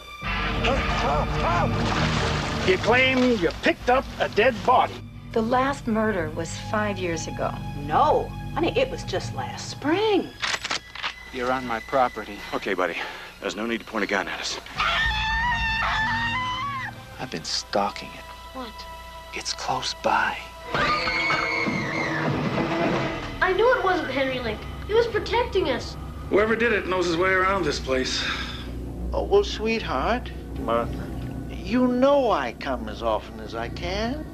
S9: You claim you picked up a dead body.
S6: The last murder was five years ago.
S10: No, honey, it was just last spring.
S8: You're on my property. Okay, buddy. There's no need to point a gun at us. I've been stalking it.
S6: What?
S8: It's close by.
S11: I knew it wasn't Henry Link. He was protecting us.
S9: Whoever did it knows his way around this place.
S7: Oh, well, sweetheart. Martha. You know I come as often as I can.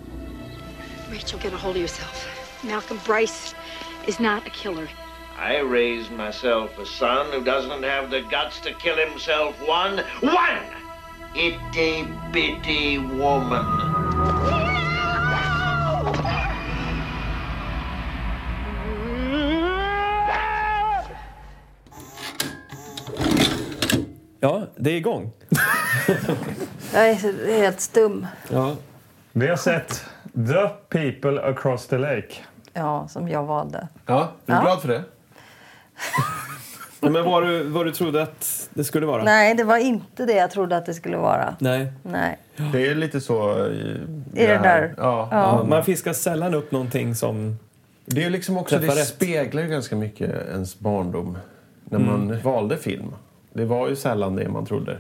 S6: Rachel, get a hold of yourself. Malcolm Bryce is not a killer.
S7: I raised myself a son who doesn't have the guts to kill himself one, one itty bitty woman.
S1: Ja, det är igång.
S4: Jag är helt stum.
S1: Ja.
S2: Vi har sett The People Across the Lake.
S4: Ja, som jag valde.
S5: Ja, du är
S4: Ja.
S5: glad för det?
S1: Men vad du, vad du trodde att det skulle vara?
S4: Nej, det var inte det jag trodde att det skulle vara.
S1: Nej.
S4: Nej.
S5: Det är lite så... eh, I,
S4: Är det
S5: här.
S4: där?
S5: Ja.
S1: Ja. Man fiskar sällan upp någonting som...
S5: Det är liksom också, det
S1: Träffa rätt.
S5: speglar ju ganska mycket ens barndom. När
S1: Mm.
S5: man valde film. Det var ju sällan det man trodde.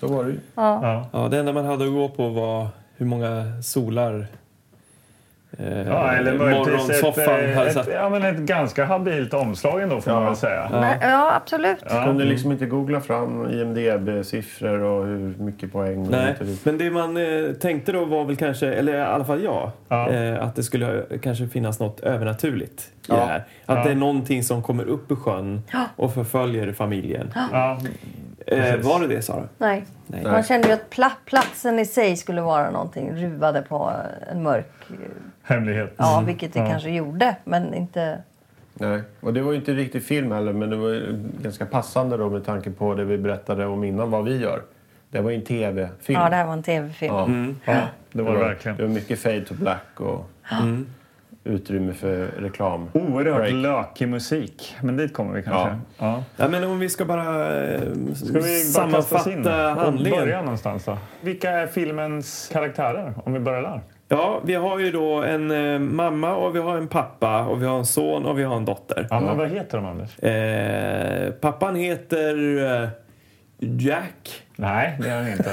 S5: Så var det ju.
S2: Ja.
S1: Ja, det enda man hade att gå på var hur många solar eh,
S2: Ja, eller möjligtvis ett, eh,
S1: morgonsoffan. hade
S2: ett,
S1: satt-
S2: ett, ja, men ett ganska habilt omslag ändå får man väl säga.
S4: Men, ja, absolut.
S5: Ja. Kunde liksom inte googla fram IMDB-siffror och hur mycket poäng.
S1: Nej,
S5: Och hit och dit.
S1: men det man eh, tänkte då var väl kanske, eller i alla fall jag, eh, att det skulle eh, kanske finnas något övernaturligt i det här. Att det är någonting som kommer upp ur sjön
S4: Ja.
S1: och förföljer familjen.
S4: Ja,
S1: eh, var det det Sara?
S4: Nej.
S1: Nej.
S4: Man kände ju att pla- platsen i sig skulle vara någonting ruvade på en mörk...
S2: Hemlighet.
S4: Ja, vilket det kanske gjorde, men inte...
S5: Nej. Och det var ju inte riktigt film heller, men det var ju ganska passande då med tanke på det vi berättade om innan, vad vi gör. Det var ju en tv-film.
S4: Ja, det här var en tv-film.
S5: Ja.
S1: Mm.
S2: Ja, det var det verkligen.
S5: Det var mycket fade to black och
S1: Mm.
S5: utrymme för reklam.
S2: Oerhört lökig musik, men dit kommer vi kanske. Ja.
S1: Ja, men om vi ska bara eh,
S2: Ska vi bara kasta oss in
S1: sammanfatta
S2: och
S1: handlingen.
S2: börja någonstans då? Vilka är filmens karaktärer, om vi börjar där?
S1: Ja, vi har ju då en eh, mamma och vi har en pappa och vi har en son och vi har en dotter.
S2: Ja, men vad heter de, Anders?
S1: Eh, pappan heter eh, Jack.
S2: Nej, det är han inte.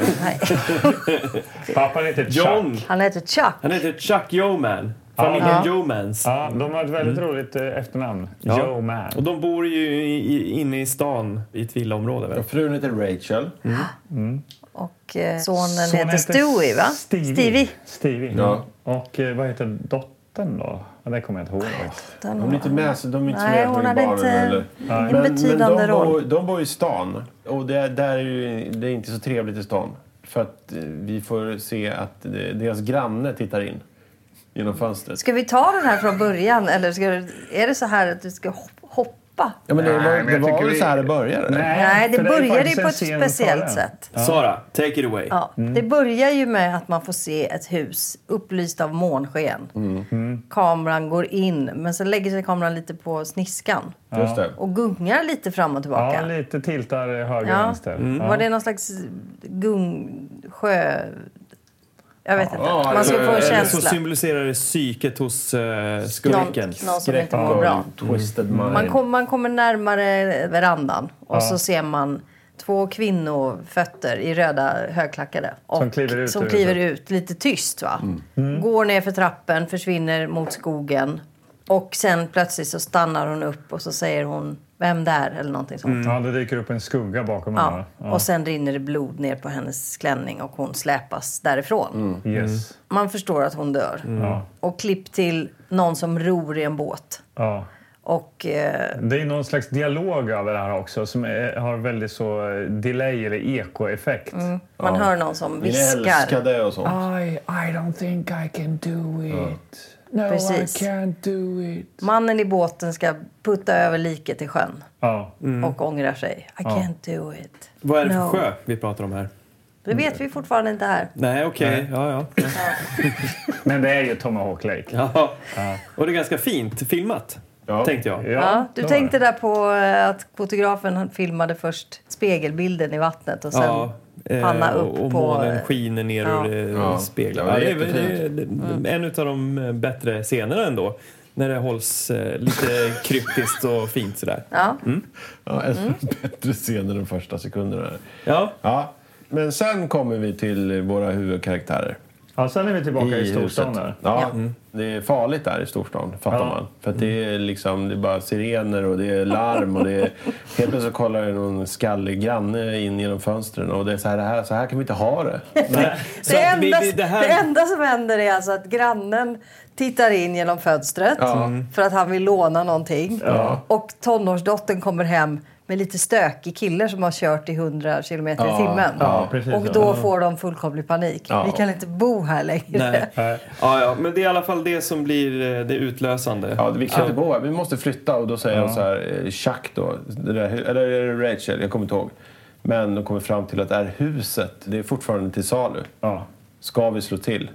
S2: Pappan heter Chuck.
S1: John.
S4: Han heter Chuck.
S1: Han heter Chuck Yeoman. Familjen
S4: Ja.
S1: Yeomans.
S2: Ja, de har ett väldigt
S4: Mm.
S2: roligt eh, efternamn.
S1: Ja.
S2: Joe Man.
S1: Och de bor ju i, i, inne i stan i ett villaområde. Väl?
S5: Frun heter Rachel.
S4: Och eh, sonen
S2: Son
S4: heter Stewie, va?
S2: Stevie.
S4: Stevie.
S2: Stevie.
S5: Ja.
S2: Och eh, vad heter dottern då? Ja, det kommer jag inte ihåg. faktiskt.
S5: De är inte med, så de är inte så
S4: Nej,
S5: med
S4: hon
S5: i
S4: hade
S5: baren
S4: inte
S5: heller.
S4: en
S5: Men-
S4: betydande
S5: men de
S4: roll.
S5: Bor, de bor i stan och det, där är ju, det är inte så trevligt i stan. För att eh, vi får se att eh, deras granne tittar in genom fönstret.
S4: Ska vi ta den här från början? Eller ska, är det så här att du ska hop- hoppa?
S5: Ja, men det
S2: Nej,
S5: var,
S2: men
S5: det
S2: jag
S5: var
S2: tycker
S5: väl
S2: vi-
S5: så här det började?
S4: Nej, det
S2: för är
S4: börjar ju
S2: faktiskt
S4: på
S2: en
S4: ett
S2: scen
S4: speciellt
S2: före.
S4: sätt.
S1: Sara, take it away.
S4: Ja,
S2: Mm.
S4: Det börjar ju med att man får se ett hus upplyst av månsken.
S2: Mm.
S4: Kameran går in, men sen lägger sig kameran lite på sniskan
S5: Just det.
S4: och gungar lite fram och tillbaka.
S2: Ja, lite tiltar höger
S4: Ja.
S2: vänster.
S1: Mm.
S4: Var det någon slags gungsjö... Jag vet
S5: Ja,
S4: inte. Man ska få en
S1: Eh, Eller så
S4: känsla.
S1: symboliserar det psyket hos uh, skurken.
S4: Någon, någon som inte mår
S5: Girl,
S4: bra.
S5: Mm, Twisted mind.
S4: Man, kom, man kommer närmare verandan och så ser man två kvinnofötter i röda högklackade. Och
S2: Som kliver ut
S4: som
S2: ur Mm.
S4: kliver ut lite tyst. Va? Går ner för trappen, försvinner mot skogen. Och sen plötsligt så stannar hon upp och så säger hon Vem där? eller någonting sånt.
S2: Ja, det dyker upp en skugga bakom
S4: Ja.
S2: henne. Mm. Ja.
S4: Och sen rinner det blod ner på hennes klänning och hon släpas därifrån.
S2: Yes.
S4: Man förstår att hon dör.
S2: Mm. Ja.
S4: Och klipp till någon som ror i en båt.
S2: Ja.
S4: Och eh,
S2: Det är någon slags dialog över det här också som är, har väldigt så eh, delay eller ekoeffekt.
S4: man hör någon som
S5: Min
S4: viskar.
S5: älskade och sånt.
S2: I, I don't think I can do it. No,
S4: Precis.
S2: I can't do it.
S4: Mannen i båten ska putta över liket i sjön
S2: Ja.
S4: och ångrar sig. I can't do it.
S1: Mm. Vad är det
S4: No.
S1: för sjö vi pratar om här?
S4: Det vet vi fortfarande inte här.
S1: Nej, okej. Ja,
S5: (laughs)
S1: ja.
S2: Men det är ju Tomahawk Lake.
S1: ja. Och det är ganska fint filmat,
S5: Ja. Eh,
S1: tänkte jag.
S4: Ja,
S2: det
S4: du
S2: var
S4: tänkte
S2: det.
S4: där på eh, att fotografen han filmade först spegelbilden i vattnet och sen
S1: Ja, eh,
S4: panna upp
S1: och, och
S4: på... eh,
S1: månen skiner ner
S4: ja.
S1: och det
S5: Ja.
S1: speglar.
S5: Ja, det är
S1: det är, det är, det är en av de eh, bättre scenerna ändå. När det hålls eh, lite kryptiskt och fint sådär.
S4: Ja.
S5: Ja, en
S4: Mm.
S5: bättre scen än de första sekunderna. här.
S1: Ja,
S5: Ja. Men sen kommer vi till våra huvudkaraktärer.
S2: Ja, sen är vi tillbaka i, storstan
S5: huset.
S2: där.
S5: Ja, Mm.
S4: Ja.
S5: Det är farligt där i storstan, fattar
S2: Ja.
S5: man. För att det är liksom, det är bara sirener och det är larm och det är... Helt plötsligt så kollar det någon skallig granne in genom fönstren och det är så här, det här, så här kan vi inte ha det.
S1: Så
S4: Det,
S1: att vi-
S4: enda,
S1: vi- det
S4: det,
S1: här-
S4: enda som händer är alltså att grannen tittar in genom fönstret Mm. för att han vill låna någonting. Och tonårsdottern kommer hem med lite stökig kille som har kört i 100 kilometer i timmen.
S2: Ja, precis.
S4: Och då får de fullkomlig panik.
S5: Ja.
S4: Vi kan inte bo här längre.
S1: (laughs) nej. Ja, ja, men det är i alla fall det som blir eh, det utlösande.
S5: Ja, vi kan inte bo här, vi måste flytta. Och då säger hon så här, eh, Chuck då, det där, hu- eller är det Rachel, jag kommer inte ihåg. Men de kommer fram till att det här huset, det är fortfarande till salu.
S2: Ja.
S5: Ska vi slå till?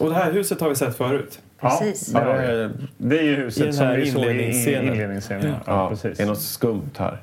S1: Och det här huset har vi sett förut.
S4: Precis.
S2: Ja,
S5: Ja,
S2: det, är,
S5: eh,
S2: det är ju
S1: I den
S2: huset som
S1: här
S2: vi såg i
S1: inledningsscenen.
S2: inledningsscenen. Ja,
S5: ja,
S2: precis.
S5: Det är något skumt här.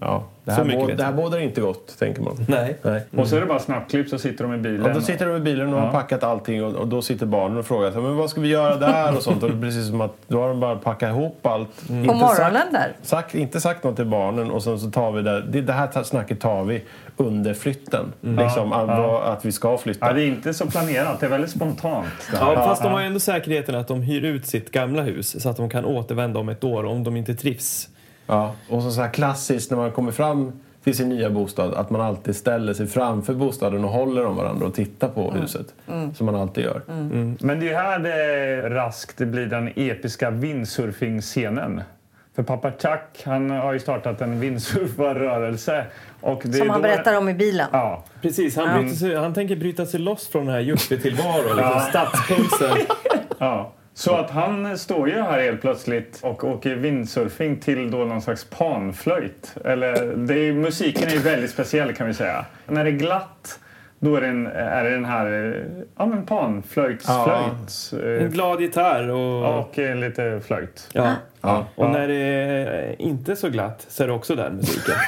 S5: Ja, det,
S1: Så
S5: här
S1: mycket
S5: båd,
S1: vet
S5: det här
S1: jag.
S5: bådar inte gott, tänker man.
S1: Nej. Mm.
S5: Nej.
S2: Och så är det bara snabbklipp så sitter de i bilen.
S5: Ja, då sitter de i bilen och har
S2: Ja.
S5: packat allting och, och då sitter barnen och frågar så här, men vad ska vi göra där och sånt. Och det är precis som att då har de bara packat ihop allt.
S2: Mm.
S4: På
S5: Inte sagt-
S4: morgonen där.
S5: Sagt, inte sagt något till barnen och sen så tar vi det, det, det här ta- snacket tar vi under flytten.
S2: Mm.
S5: Liksom, att, att vi ska flytta.
S2: Ja, det är inte så planerat, det är väldigt spontant.
S1: Ja, fast de har ju ändå säkerheten att att de hyr ut sitt gamla hus så att de kan återvända om ett år om de inte trivs.
S5: Ja, och så, så här klassiskt när man kommer fram till sin nya bostad att man alltid ställer sig framför bostaden och håller om varandra och tittar på huset.
S2: Mm.
S5: Som man alltid gör.
S2: Men det är ju här det raskt blir den episka windsurfingscenen. För pappa Chuck han har ju startat en windsurfarrörelse. Och det är
S4: Som han
S2: då-
S4: berättar om i bilen.
S2: Ja.
S1: Precis, han,
S4: Ja.
S1: bryter sig, han tänker bryta sig loss från den här yuppietillvaron, liksom
S2: Ja.
S1: stadspulsen. (laughs)
S2: Ja. Så att han står ju här helt plötsligt och åker windsurfing till då någon slags panflöjt. Eller, det är, ju- musiken är ju väldigt speciell kan vi säga. När det är glatt då är det, en, är det den här eh, ja, men panflöjtsflöjt. eh,
S1: En glad gitarr och...
S2: Och eh, lite flöjt.
S1: Ja.
S2: Ja.
S1: Och när det är inte så glatt så är det också den musiken. (laughs)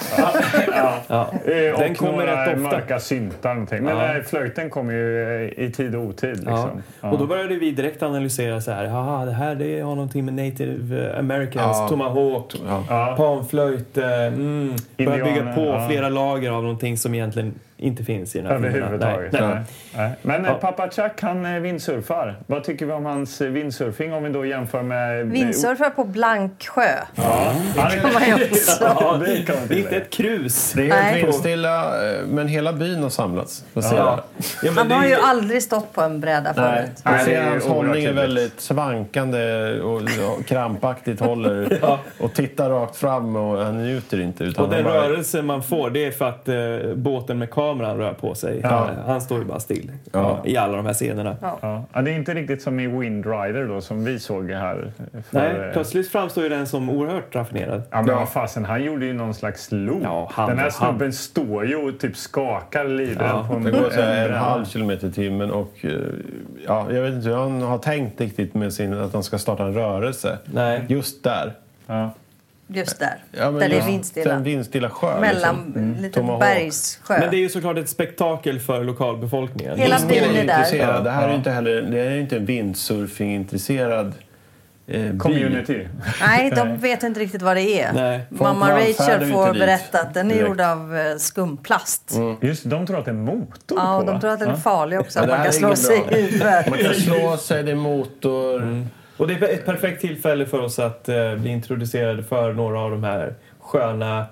S1: Ja.
S2: Eh,
S1: Den
S2: och
S1: kommer
S2: några
S1: rätt ofta.
S2: mörka syntar och någonting. Men
S1: Ja.
S2: nej, flöjten kommer ju eh, i tid och otid.
S1: Ja.
S2: Liksom.
S1: Och då började vi direkt analysera så här, haha det här det har någonting med native eh, americans,
S2: Ja.
S1: tomahawk,
S2: Ja.
S1: panflöjt, eh, mm, börja
S2: Indianer,
S1: bygga på
S2: ja.
S1: flera lager av någonting som egentligen inte finns i den här filmen.
S2: Överhuvudtaget.
S1: Nej, nej.
S2: Nej. Nej. Men eh,
S1: Ja.
S2: pappa Chuck han eh, vindsurfar. Vad tycker vi om hans eh, windsurfing om vi då jämför med...
S4: Vindsurfar på blank sjö.
S2: Ja.
S4: Det kan man ju också.
S1: Ja, det
S2: kan man
S1: (laughs) Det är inte ett krus.
S5: Det är
S4: Nej.
S5: helt vindstilla, eh, men hela byn har samlats. Ja.
S1: Ja. Ja,
S4: Han har ju aldrig stått på en bräda
S5: Nej,
S4: förut.
S5: man
S2: det är
S5: ser hans
S2: oerhört
S5: hållning är
S2: tydligt.
S5: väldigt svankande och ja,
S2: (laughs)
S5: krampaktigt håller och tittar rakt fram och han njuter inte. Utan
S1: Och den
S5: han bara-
S1: rörelse man får det är för att eh, båten med kameran rör på sig.
S2: Ja.
S1: Eh, Han står ju bara still
S2: Ja.
S1: ja. i alla de här scenerna.
S2: Ja. Ja, det är inte riktigt som i Wind Rider då som vi såg här. För, eh,
S1: Nej, plötsligt framstår ju den som oerhört raffinerad.
S2: Ja, men vad fasen, han gjorde ju någon slags loop.
S1: han-
S2: Den här
S1: han-
S2: snubben står ju och typ skakar lidan
S5: Ja,
S2: på en,
S5: det går så här
S2: en
S5: en
S2: bräda.
S5: halv kilometer i timmen och eh, ja, jag vet inte hur han har tänkt riktigt med sin att han ska starta en rörelse.
S1: Nej.
S5: Just där.
S4: Just där.
S5: Ja, men
S4: där det är
S5: just
S4: vindstilla.
S5: Den vindstilla sjö.
S4: Mellan
S5: liksom. Mm.
S4: lite
S5: Tomahawk.
S4: bergssjö.
S1: Men det är ju såklart ett spektakel för lokalbefolkningen.
S4: Hela
S5: Ingen
S4: byn är där.
S5: intresserad.
S1: Ja.
S5: Det här är
S1: Ja.
S5: ju inte heller det här är ju inte en windsurfing-intresserad eh,
S2: Community.
S4: Nej, de vet inte riktigt vad det är.
S5: Nej.
S4: Mamma
S5: Folk vallfärdar
S4: Rachel
S5: ju
S4: får
S5: inte dit
S4: berätta att den är
S5: direkt. Mm,
S4: gjord av eh, skumplast.
S2: Just de tror att det är en motor
S4: Ja,
S2: på.
S4: och de tror att den är
S2: Ja.
S4: farlig också.
S5: Ja,
S4: Att
S5: det
S4: man
S5: här
S4: kan
S5: är
S4: slå
S5: inget
S4: sig
S5: bra.
S4: i huvudet.
S5: Man kan slå sig, det är motor.
S2: Mm.
S1: Och det är ett perfekt tillfälle för oss att eh, bli introducerade för några av de här sköna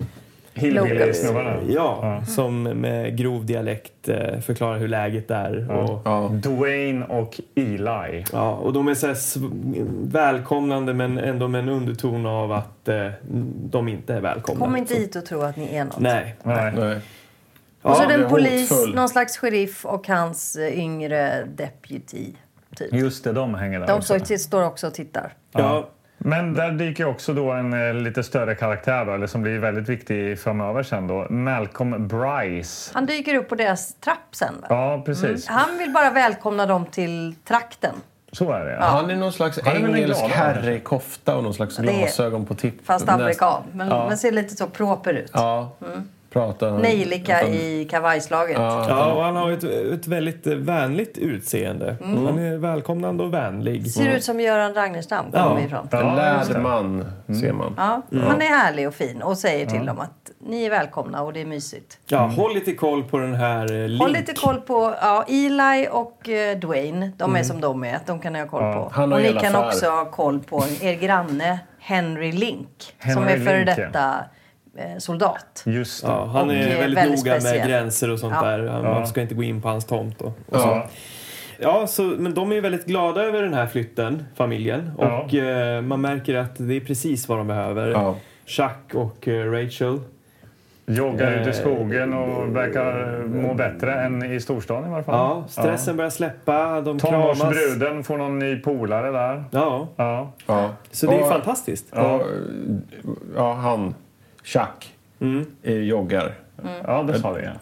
S2: Hillbilly-snubbarna.
S1: Ja, som med grov dialekt eh, förklarar hur läget är. Och,
S2: Dwayne och Eli.
S1: ja, och de är så här sv- välkomnande men ändå med en underton av att eh, de inte är välkomna.
S4: Kom inte hit och tro att ni är något.
S1: Nej.
S2: Nej.
S5: Nej.
S4: och så
S5: Ja,
S4: är det
S5: det
S4: en
S5: är
S4: polis,
S5: hotfull.
S4: någon slags sheriff och hans eh, yngre deputy. Typ.
S2: Just det, de hänger där
S4: De
S2: också.
S4: står, står också och tittar.
S1: Ja,
S2: Men där dyker också då en eh, lite större karaktär då, eller som blir väldigt viktig framöver sen då. Malcolm Bryce.
S4: Han dyker upp på deras trapp sen. Va?
S2: Ja, precis.
S4: Han vill bara välkomna dem till trakten.
S2: Så är det.
S5: Han är någon slags
S2: Han är väl en
S5: engelsk
S2: glad
S5: herre i kofta och någon slags
S4: Ja, det är-
S5: glasögon på tipp.
S4: Fast
S5: Näst-
S4: amerikan. Men,
S5: Ja.
S4: men ser lite så proper ut.
S5: Ja. Pratar.
S4: Nejlika i kavajslaget.
S5: Ja.
S1: ja och han har ett, ett väldigt eh, vänligt utseende. Han är välkomnande och vänlig.
S4: Mm. Ser ut som Göran Ragnerstam kommer
S1: Mm. Ja.
S4: vi ifrån.
S5: En
S2: Ja, just det.
S5: lärd man ser man.
S4: Ja, han är härlig och fin och säger till dem att ni är välkomna och det är mysigt.
S1: Ja, håll lite koll på den här eh, Link.
S4: Håll lite koll på ja, Eli och eh, Dwayne. De är som de är. De kan ni ha koll på.
S5: han har
S4: och ni
S5: hela
S4: kan
S5: affär.
S4: också ha koll på er granne Henry Link. som
S2: Henry
S4: är före
S2: Link, ja. Mm.
S4: detta eh, soldat.
S2: Just det.
S1: Ja, han
S4: Och,
S1: är
S4: eh,
S1: väldigt,
S4: väldigt
S1: noga
S4: speciell.
S1: med gränser och sånt
S4: Ja.
S1: där. Han,
S2: Ja.
S1: Man ska inte gå in på hans tomt. Och, och
S5: Ja.
S1: Så. Ja, så, men de är ju väldigt glada över den här flytten, familjen.
S2: Ja.
S1: Och eh, man märker att det är precis vad de behöver.
S5: Ja.
S1: Chuck och eh, Rachel.
S2: Joggar
S5: Eh,
S2: ut i skogen och verkar må bättre än i storstan i varje fall.
S1: Ja, stressen börjar släppa, de
S2: Ja.
S1: kramas.
S2: Tonårsbruden får någon ny polare där.
S1: Ja,
S2: Ja.
S5: Ja.
S1: så det är ju
S5: Och-
S1: fantastiskt.
S5: Ja, ja han, Chuck, eh, joggar.
S2: ja, det sa vi. Ja.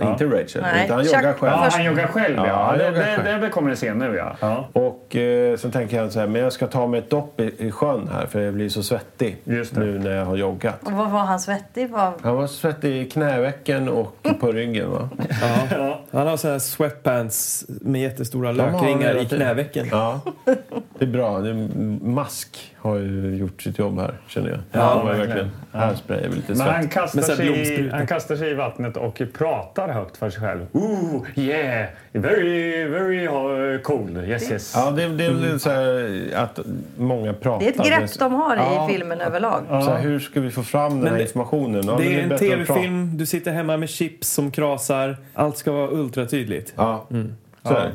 S5: Ja, Inte Rachel.
S4: Nej,
S5: Utan han
S4: Chuck-
S5: joggar själv.
S2: Ja, han joggar själv, ja.
S5: Ja, han
S2: det,
S5: joggar
S2: det,
S5: själv.
S2: det kommer ni se nu, ja. ja.
S5: Och eh, sen tänker han så här, men jag ska ta mig ett dopp i, i sjön här för jag blir så svettig
S2: Just det.
S5: nu när jag har joggat.
S4: Och vad var han svettig? Vad...
S5: Han var svettig i knävecken och på ryggen va?
S1: Han har sådana här sweatpants med jättestora
S5: De har
S1: lökringar
S5: hela
S1: i
S5: tiden.
S1: knävecken.
S5: Ja. Det är bra. Det är, mask har ju gjort sitt jobb här, känner jag.
S2: Ja,
S5: Han var
S2: verkligen.
S5: verkligen.
S2: Ja.
S5: Hairspray är väl lite
S2: Men han
S5: svett.
S2: kastar,
S5: så här
S2: sig i,
S5: blomsprutor.
S2: han kastar sig i vattnet och pratar högt för sig själv. Ooh, yeah, very, very uh, cool. Yes, yes.
S5: Ja, det, det är väl så här att många pratar.
S4: Det är ett grepp de har i
S5: Ja.
S4: filmen överlag.
S5: Så här, hur ska vi få fram den
S1: Men
S5: här
S1: det-
S5: informationen? Ja,
S1: det
S5: men
S1: är en
S5: bättre att prata.
S1: tv-film, du sitter hemma med chips som krasar. Allt ska vara ultratydligt.
S5: Ja. Så är det.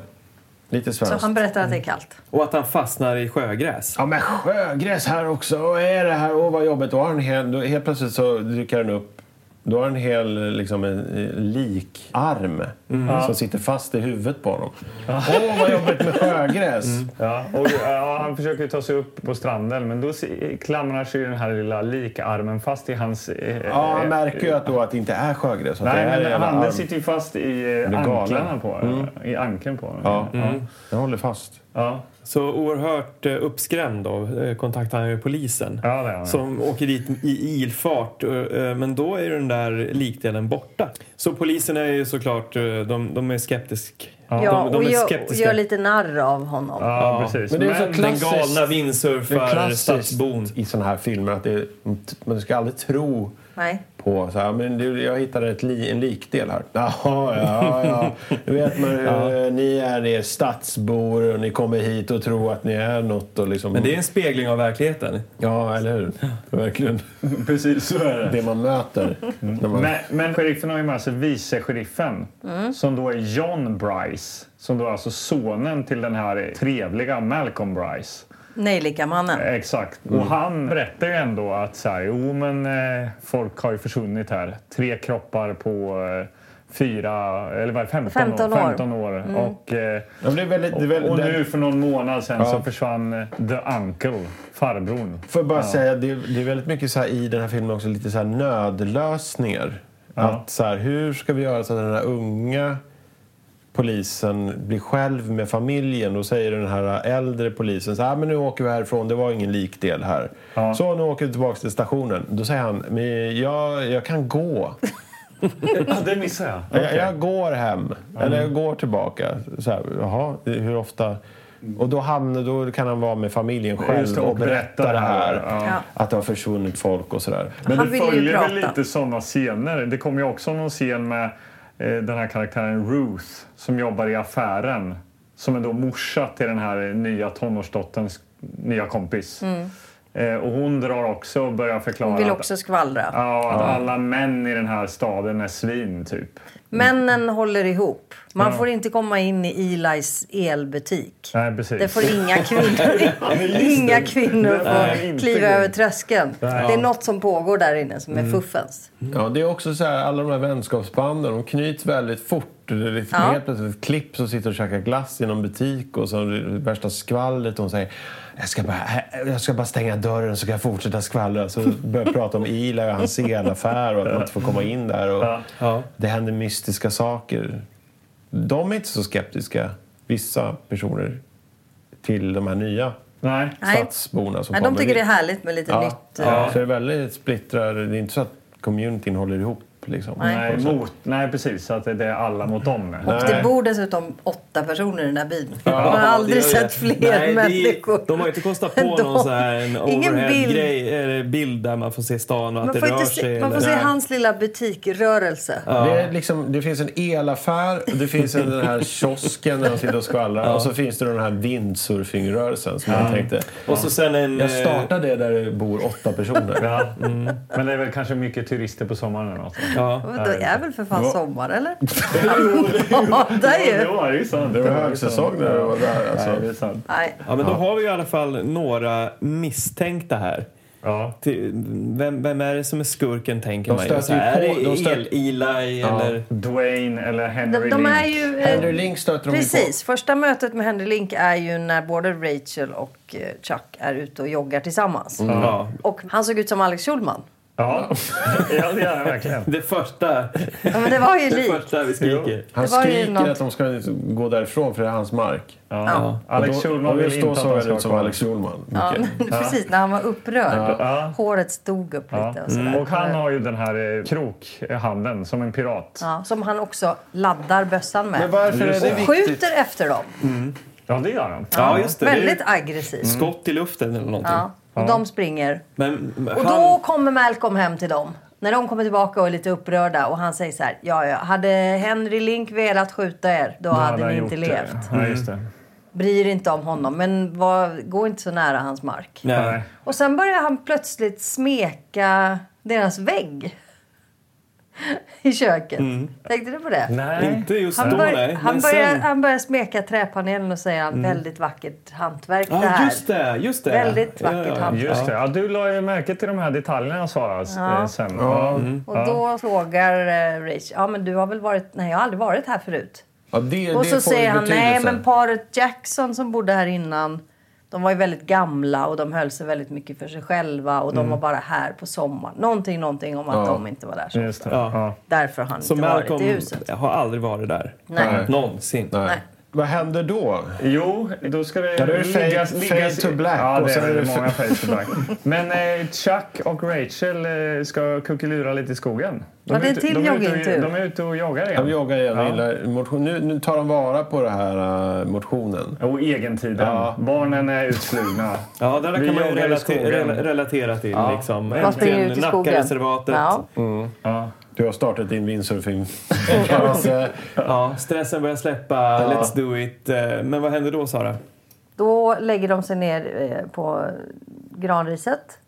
S5: Lite
S4: Mm. Så
S5: svenskt.
S4: han berättar att det är kallt.
S1: Och att han fastnar i sjögräs.
S5: Ja, men sjögräs här också. Vad är det här? Åh, vad jobbigt. Då har han hel, då, helt plötsligt så dyker han upp. Då har han en hel liksom, en, en likarm
S2: Ja.
S5: som sitter fast i huvudet på honom. Åh, vad jobbigt med sjögräs!
S2: Ja, och, ja, han försöker ta sig upp på stranden men då se- klamrar sig den här lilla likarmen fast i hans... eh,
S5: Ja, han
S2: eh,
S5: märker ju att, då att det inte är sjögräs. Att det
S2: Nej,
S5: är en
S2: men
S5: jävla
S2: handen
S5: arm.
S2: sitter ju fast i
S5: Jag
S2: eh,
S5: blir galen.
S2: anklarna på mm. I ankeln på honom.
S5: Ja.
S2: Ja.
S5: Den håller fast.
S2: Ja.
S1: Så oerhört eh, uppskrämd då eh, kontaktar han ju polisen.
S2: Ja, det är han.
S1: Som åker dit i ilfart. eh, eh, Men då är den där likdelen borta. Så polisen är ju såklart, eh, de, de är skeptisk.
S4: Ja,
S1: de, de
S4: och,
S1: är
S4: gör, och
S1: skeptiska.
S4: gör lite narr av honom.
S2: Ja, precis.
S5: Men det är så
S1: Den
S5: klassiskt.
S1: galna
S5: Det är
S1: vindsurfar,
S5: klassiskt
S1: stadsbon.
S5: i sådana här filmer att det är, man ska aldrig tro
S4: Nej.
S5: på så här, men du, jag hittade ett li, en likdel här. (laughs) Jaha, ja, ja. Nu vet man hur eh, ni är, ni är stadsbor och ni kommer hit och tror att ni är något. Och liksom,
S1: Men det är en spegling av verkligheten.
S5: Ja, eller hur? Verkligen.
S2: (laughs) Precis så är det.
S5: Det man möter. När man,
S2: Men, men sheriffen har ju med sig vice-sheriffen som då är John Bryce. Som då är alltså sonen till den här trevliga Malcolm Bryce. Eh,
S4: Nejlikamannen.
S2: Exakt. Och han berättar ju ändå att så här, jo, men, eh, folk har ju försvunnit här. Tre kroppar på eh, fyra, eller vad är det, 15,
S4: 15 år.
S2: år. 15 år. Och, eh,
S5: Ja, men det är väldigt, det är
S2: och,
S5: väldigt,
S2: och
S5: det-
S2: nu för någon månad sedan
S5: Ja.
S2: så försvann eh, the uncle, farbrorn.
S5: Får jag bara säga, det är, det är väldigt mycket så här, i den här filmen också lite så här nödlösningar. Att så här, hur ska vi göra så att den här unga polisen blir själv med familjen? Då säger den här äldre polisen så här, "Ah, men nu åker vi härifrån, det var ingen likdel här.
S2: Ja.
S5: Så nu åker vi tillbaka till stationen. Då säger han, men jag, jag kan gå.
S2: Ja, det missade jag.
S5: Jag, jag går hem, eller jag går tillbaka. Så här, jaha, hur ofta? Och då, hamnar, då kan han vara med familjen själv
S2: Just det,
S5: och berätta det här.
S2: Ja.
S5: Att det har försvunnit folk och sådär.
S2: Men
S4: Han
S2: det
S4: vill ju
S2: följer väl
S4: prata.
S2: lite sådana scener. Det kommer ju också någon scen med eh, den här karaktären Ruth som jobbar i affären. Som är då morsa till den här nya tonårsdotterns nya kompis. Eh, och hon drar också och börjar förklara
S4: Mm. Vill
S2: att,
S4: också skvallra.
S2: ja, att alla män i den här staden är svin typ.
S4: Männen håller ihop. Man får inte komma in i Elis elbutik.
S2: Nej, precis.
S4: Det får
S1: (laughs)
S4: inga kvinnor, inga kvinnor
S2: får
S4: får
S2: inte
S4: kliva
S2: gå in.
S4: över tröskeln. Det är något som pågår där inne som
S1: Mm.
S4: är fuffens.
S5: Ja, det är också så här, alla de här vänskapsbanden, de knyts väldigt fort. Det är liksom
S4: Ja.
S5: helt plötsligt ett klipp som sitter och käkar glass i någon butik och så det värsta skvallret. Hon säger jag ska, bara, jag ska bara stänga dörren så kan jag fortsätta skvallra. Så börjar jag prata om Ila och hans elaffär och att man inte får komma in där. Och
S1: Ja.
S5: Det händer mystiska saker. De är inte så skeptiska, vissa personer, till de här nya
S2: Nej.
S4: Nej.
S5: stadsborna som
S4: Nej,
S5: kommer
S4: de tycker det är
S5: hit.
S4: härligt med lite
S5: Ja.
S4: nytt. eh,
S5: Ja. Så det är väldigt splittrat. Det är inte så att communityn håller ihop. Liksom.
S4: Nej.
S2: Nej, mot, nej, precis. Så att det är alla mot dem. nu.
S5: Mm.
S4: Och det bor dessutom åtta personer i den här byn. Man har
S1: Ja, det
S4: aldrig
S1: gör det.
S4: sett fler
S1: Nej, det är-
S4: människor.
S1: De har inte kostat på
S4: (laughs) De-
S1: någon så här en
S4: ingen bild.
S1: overhead-grej, eller bild där man får se stan och att
S4: Man
S1: det
S4: får,
S1: rör
S4: inte
S1: sig.
S4: se, man får
S1: eller-
S4: se hans lilla butikrörelse.
S5: Det, är liksom, det finns en elaffär, och det finns en, den här kiosken där de sitter och skvallrar och så finns det den här windsurfingrörelsen som jag tänkte...
S1: Och så sen en...
S2: Eh.
S5: Jag startar det där det bor åtta personer.
S2: (laughs) Ja.
S5: Mm.
S2: Men det är väl kanske mycket turister på sommaren. Eller något.
S1: Ja.
S4: Och Då är väl för fan
S5: Ja.
S4: sommar, eller? Han badar ju.
S2: Ja, det är sant.
S5: Det var högsäsong när det var där.
S2: Nej, det
S5: Alltså.
S2: är sant.
S4: Nej.
S1: Ja, men då har vi i alla fall några misstänkta här.
S2: Ja.
S1: Till, vem, vem är det som är skurken, tänker
S5: De
S1: man
S5: stöter
S1: Så
S5: ju
S1: här,
S5: på-
S1: Är det
S5: de stöter-
S1: El- Eli eller...
S2: Dwayne eller
S4: De,
S2: Henry
S4: de är
S2: Lynch.
S4: ju...
S5: Henry
S4: Eh,
S5: Link stöter de ju på.
S4: precis. Första mötet med Henry Link är ju när både Rachel och eh, Chuck är ute och joggar tillsammans.
S1: Ja.
S4: Och han såg ut som Alex Schulman.
S2: Ja, (laughs) ja det gör jag verkligen.
S1: Det första,
S4: Ja, men det var
S1: (laughs)
S4: ju
S1: det
S4: lik.
S1: första vi skriker.
S5: Han
S4: Det var ju
S5: skriker
S4: något-
S5: att de ska gå därifrån för det är hans mark.
S2: Ja. Alex
S5: Och då-
S2: Schulman
S5: och
S2: vill
S5: just då
S2: inte
S5: såg
S2: att
S5: han
S2: han
S5: ut
S2: ska
S5: som
S2: vara
S5: Alex Schulman.
S4: Ja,
S5: Okej.
S4: (laughs) precis, när han var upprörd.
S2: Ja.
S4: Håret stod upp lite och sådär.
S2: Och han har ju den här eh, krokhandeln som en pirat.
S4: ja, Som han också laddar bössan med.
S5: Men varför är det
S4: och
S5: viktigt?
S4: skjuter efter dem.
S2: Ja, det gör han.
S1: Ja, just det. Det är
S4: Väldigt
S1: ju Mm.
S4: aggressiv.
S1: Skott i luften eller någonting.
S4: Ja. Och de springer.
S1: Men han-
S4: Och då kommer Malcolm hem till dem. När de kommer tillbaka och är lite upprörda och han säger så här. Ja, ja, hade Henry Link velat skjuta er, då, hade
S2: han
S4: ni
S2: gjort
S4: inte
S2: det.
S4: levt.
S2: Ja, just
S5: Mm.
S2: det.
S4: Bryr inte om honom, men var, gå inte så nära hans mark.
S2: Nej.
S4: Och sen börjar han plötsligt smeka deras vägg. (laughs) I köket. Tänkte du på det?
S1: Nej. Inte just
S4: han
S1: då,
S4: bör-
S1: nej.
S4: Han
S1: Men
S4: börjar,
S1: sen-
S4: han börjar smeka träpanelen och säger
S1: Mm.
S4: väldigt vackert hantverk det
S1: Ja,
S4: här.
S1: just det, just det.
S4: Väldigt vackert hantverk.
S2: Just det. Ja, du la ju märke till de här detaljerna sa jag
S4: Ja.
S2: ja. sen.
S5: Ja.
S4: Och då frågar eh, Rich, ja men du har väl varit, nej jag har aldrig varit här förut.
S5: Ja, det,
S4: och
S5: det
S4: så
S5: får
S4: säger
S5: ju
S4: han, nej
S5: betydelse.
S4: men paret Jackson som bodde här innan, de var ju väldigt gamla och de höll sig väldigt mycket för sig själva och de
S1: Mm.
S4: var bara här på sommaren. Någonting, någonting om att de inte var där. Så.
S1: Just det. Ja.
S4: Därför har han
S1: Så
S4: inte varit
S1: Malcolm
S4: i huset.
S1: har aldrig varit där.
S4: Nej.
S1: Någonsin.
S4: Nej.
S5: Vad händer då?
S2: Jo, då ska det
S5: Ja, då är det
S2: liggas-
S5: fade-
S2: liggas-
S5: fade to black
S2: Ja,
S5: och
S2: det
S5: sen
S2: är
S5: är
S2: det
S5: det
S2: många
S5: fa-
S2: fade to
S5: (laughs)
S2: black. Men eh, Chuck och Rachel eh, ska kuckelura lite i skogen. De
S4: Ja, det är en
S2: ute-
S4: till
S2: de ute och-
S4: joggingtur.
S2: De är ute och jagar igen.
S5: De joggar igen och
S2: Ja.
S5: gillar motion. Nu, nu tar de vara på den här eh, motionen.
S2: Och egentiden.
S5: Ja.
S2: Barnen är utflugna.
S1: Ja, där
S2: Vi
S1: kan man ju
S2: joggar i
S1: relate-
S2: skogen.
S1: rela- relatera till.
S5: Ja.
S1: Liksom.
S5: Man springer
S1: Äntligen
S5: ut i skogen.
S1: Nackareservatet.
S5: Ja.
S2: Ja.
S5: Du har startat din windsurfing. (laughs) Alltså,
S1: ja, stressen börjar släppa. Let's do it. Eh, Men vad händer då, Sara?
S4: Då lägger de sig ner eh, på granriset.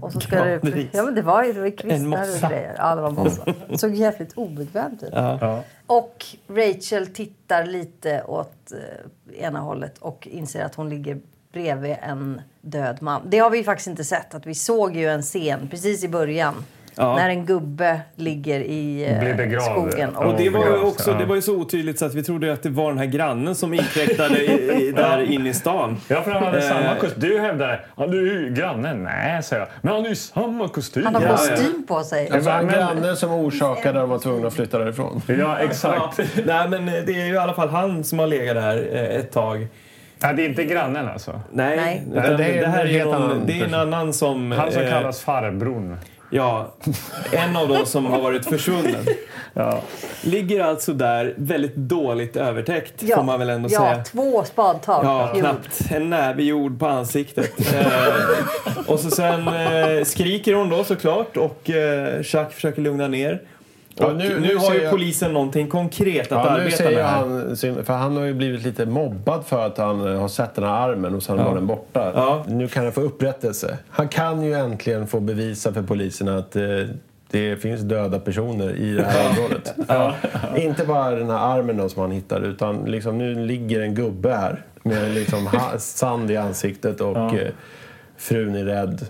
S4: Och så ska det,
S1: Mm. Granris.
S4: ja, men det var ju det var ju
S1: En
S4: kvistar
S1: mossa.
S4: och grejer. Ja, det var
S1: (laughs)
S4: en mossa. Det såg jävligt obekvämt ut.
S1: Ja.
S4: Och Rachel tittar lite åt eh, ena hållet och inser att hon ligger bredvid en död man. Det har vi ju faktiskt inte sett. Att vi såg ju en scen precis i början
S1: Ja.
S4: när en gubbe ligger i eh,
S1: Blir begravd.
S4: skogen.
S1: Och det var ju
S2: begravd,
S1: också
S2: ja.
S1: det var ju så otydligt så att vi trodde ju att det var den här grannen som inkräktade i, i, där inne i stan.
S2: Ja, för han hade
S1: Eh,
S2: samma kostym. Du hävdade ja, du är ju grannen. Nej, säger jag. Men han har ju samma kostym.
S4: Han har
S2: Ja,
S4: kostym på sig.
S5: Alltså en granne som orsakade dem att vara tvungna att flytta därifrån.
S2: Ja, exakt.
S1: Nej, men eh, det är ju i alla fall han som har legat där eh, ett tag.
S2: Ja, det är inte grannen alltså?
S1: Nej,
S2: Nej.
S1: utan
S2: Nej,
S1: det,
S2: det är en
S1: här är,
S2: helt
S1: någon,
S2: annan
S1: det är en
S2: person.
S1: annan som...
S2: Han som
S1: eh,
S2: kallas farbrorn.
S1: Ja, en av dem som har varit försvunnen. Ligger alltså där väldigt dåligt övertäckt, får man väl ändå
S4: ja,
S1: säga.
S4: två spadtag.
S1: Ja,
S4: Jo.
S1: knappt. En näve jord på
S4: (laughs)
S1: ansiktet. eh, och så sen eh, skriker hon då såklart och eh, Chuck försöker lugna ner. Och
S5: Ja,
S1: nu,
S5: nu-
S1: nu
S5: nu
S1: har ju
S5: ser jag-
S1: polisen någonting konkret att
S5: Ja, nu
S1: arbeta
S5: ser
S1: med
S5: ju
S1: här.
S5: han, sin- för han har ju blivit lite mobbad för att han eh, har sett den här armen och sen var den borta. Nu kan han få upprättelse. Han kan ju äntligen få bevisa för polisen att eh, det finns döda personer i det
S1: (laughs)
S5: här området. Inte bara den här armen då som han hittar utan liksom, nu ligger en gubbe här med liksom ha- (laughs) sand i ansiktet och
S2: Ja.
S5: eh, frun är rädd.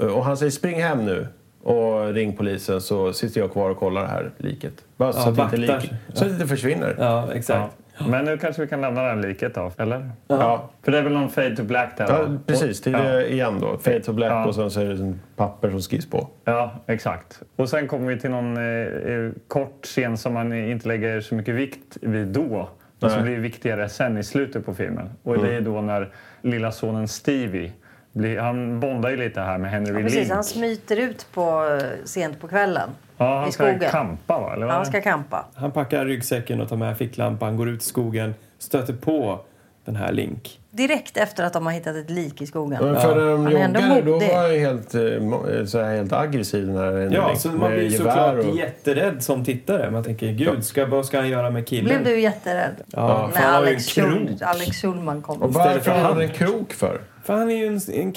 S5: Eh, Och han säger spring hem nu och ring polisen så sitter jag kvar och kollar det här liket. Bara så
S1: Ja,
S5: att inte
S1: vaktar.
S5: lik, så att det inte försvinner.
S1: Ja, exakt.
S2: Men nu kanske vi kan lämna det här liket då, eller?
S5: Ja.
S2: För det är väl någon fade to black där?
S5: Ja,
S2: va?
S5: precis, det är
S2: Ja.
S5: det igen då. Fade to black
S2: Ja.
S5: och sen så är det en papper som skrivs på.
S2: Ja, exakt. Och sen kommer vi till någon eh, eh, kort scen som man inte lägger så mycket vikt vid då. Men som
S5: Nej.
S2: blir viktigare sen i slutet på filmen. Och det är
S1: Mm.
S2: då när lilla sonen Stevie, blir, han bondar ju lite här med Henry
S4: Ja,
S2: Link.
S4: precis, han smyter ut på, eh, sent på kvällen.
S2: ja, han
S4: i
S2: ska
S4: skogen.
S2: kampa va? Eller
S4: Ja,
S2: vad
S4: han ska kampa.
S1: Han packar ryggsäcken och tar med ficklampan, går ut i skogen, stöter på den här Link.
S4: Direkt efter att de har hittat ett lik i skogen.
S5: Men för när de
S4: Han är ändå
S5: joggade då
S4: modig.
S5: var jag helt, eh, mo- eh, så här, helt aggressiv. Den här
S1: Ja,
S5: Henrik,
S1: så man
S5: med
S1: blir ju
S5: gevär
S1: såklart
S5: och-
S1: jätterädd som tittare. Man tänker, gud, ska, vad ska han göra med killen?
S4: Blev du jätterädd?
S1: Ja,
S4: när
S1: fan, han var ju en
S4: Alex, Schul-
S1: krok.
S4: Alex Schulman kom.
S5: Och varför har han en krok för?
S1: För han är ju en, en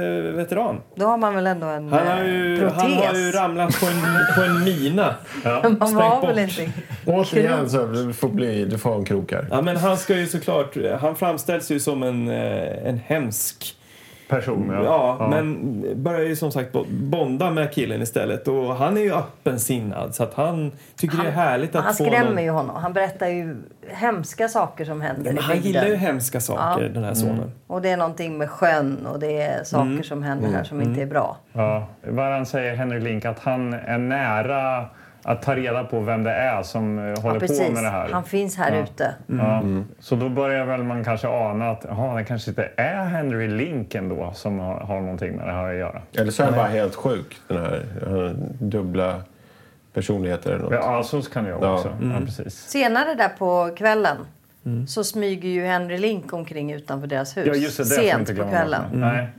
S1: krigsveteran.
S4: Då har man väl ändå en
S1: Han har
S4: eh,
S1: ju,
S4: protes?
S1: han har ju ramlat på en, på en mina.
S4: Men (laughs) man
S1: Sprängt
S4: var
S1: bort. (laughs)
S4: väl inte...
S5: Återigen, så här, du får, bli, du får ha en krok här.
S1: Ja, men han ska ju såklart... Han framställs ju som en, eh, en hemsk...
S2: Person, ja.
S1: Ja,
S2: Ja.
S1: men börjar ju som sagt bo- bonda med killen istället. Och han är ju öppensinnad så att han tycker det är härligt att
S4: Han
S1: få
S4: skrämmer
S1: någon...
S4: ju honom. Han berättar ju hemska saker som händer
S1: Men
S4: i
S1: han
S4: bygden.
S1: gillar ju hemska saker,
S4: Ja.
S1: den här
S5: Mm.
S1: sonen.
S4: Och det är någonting med sjön och det är saker
S1: Mm.
S4: som händer
S1: Mm.
S4: här som inte är bra.
S2: Ja, vad han säger, Henry Link, att han är nära att ta reda på vem det är som eh, håller på
S4: precis.
S2: med det här.
S4: Han finns här
S2: ja.
S4: ute.
S2: Ja.
S4: Mm.
S2: Så då börjar väl man kanske ana att aha, det kanske inte är Henry Link ändå som har, har någonting med det här att göra.
S5: Eller så är han bara helt sjuk, den här han har dubbla personligheter eller något.
S2: Ja, så kan det vara
S5: Ja.
S2: också. Ja,
S5: Mm.
S2: precis.
S4: Senare där på kvällen så smyger ju Henry Link omkring utanför deras hus
S2: Ja, just det. Det får jag
S4: sent
S2: inte
S4: på
S2: glömma Mm.
S4: kvällen.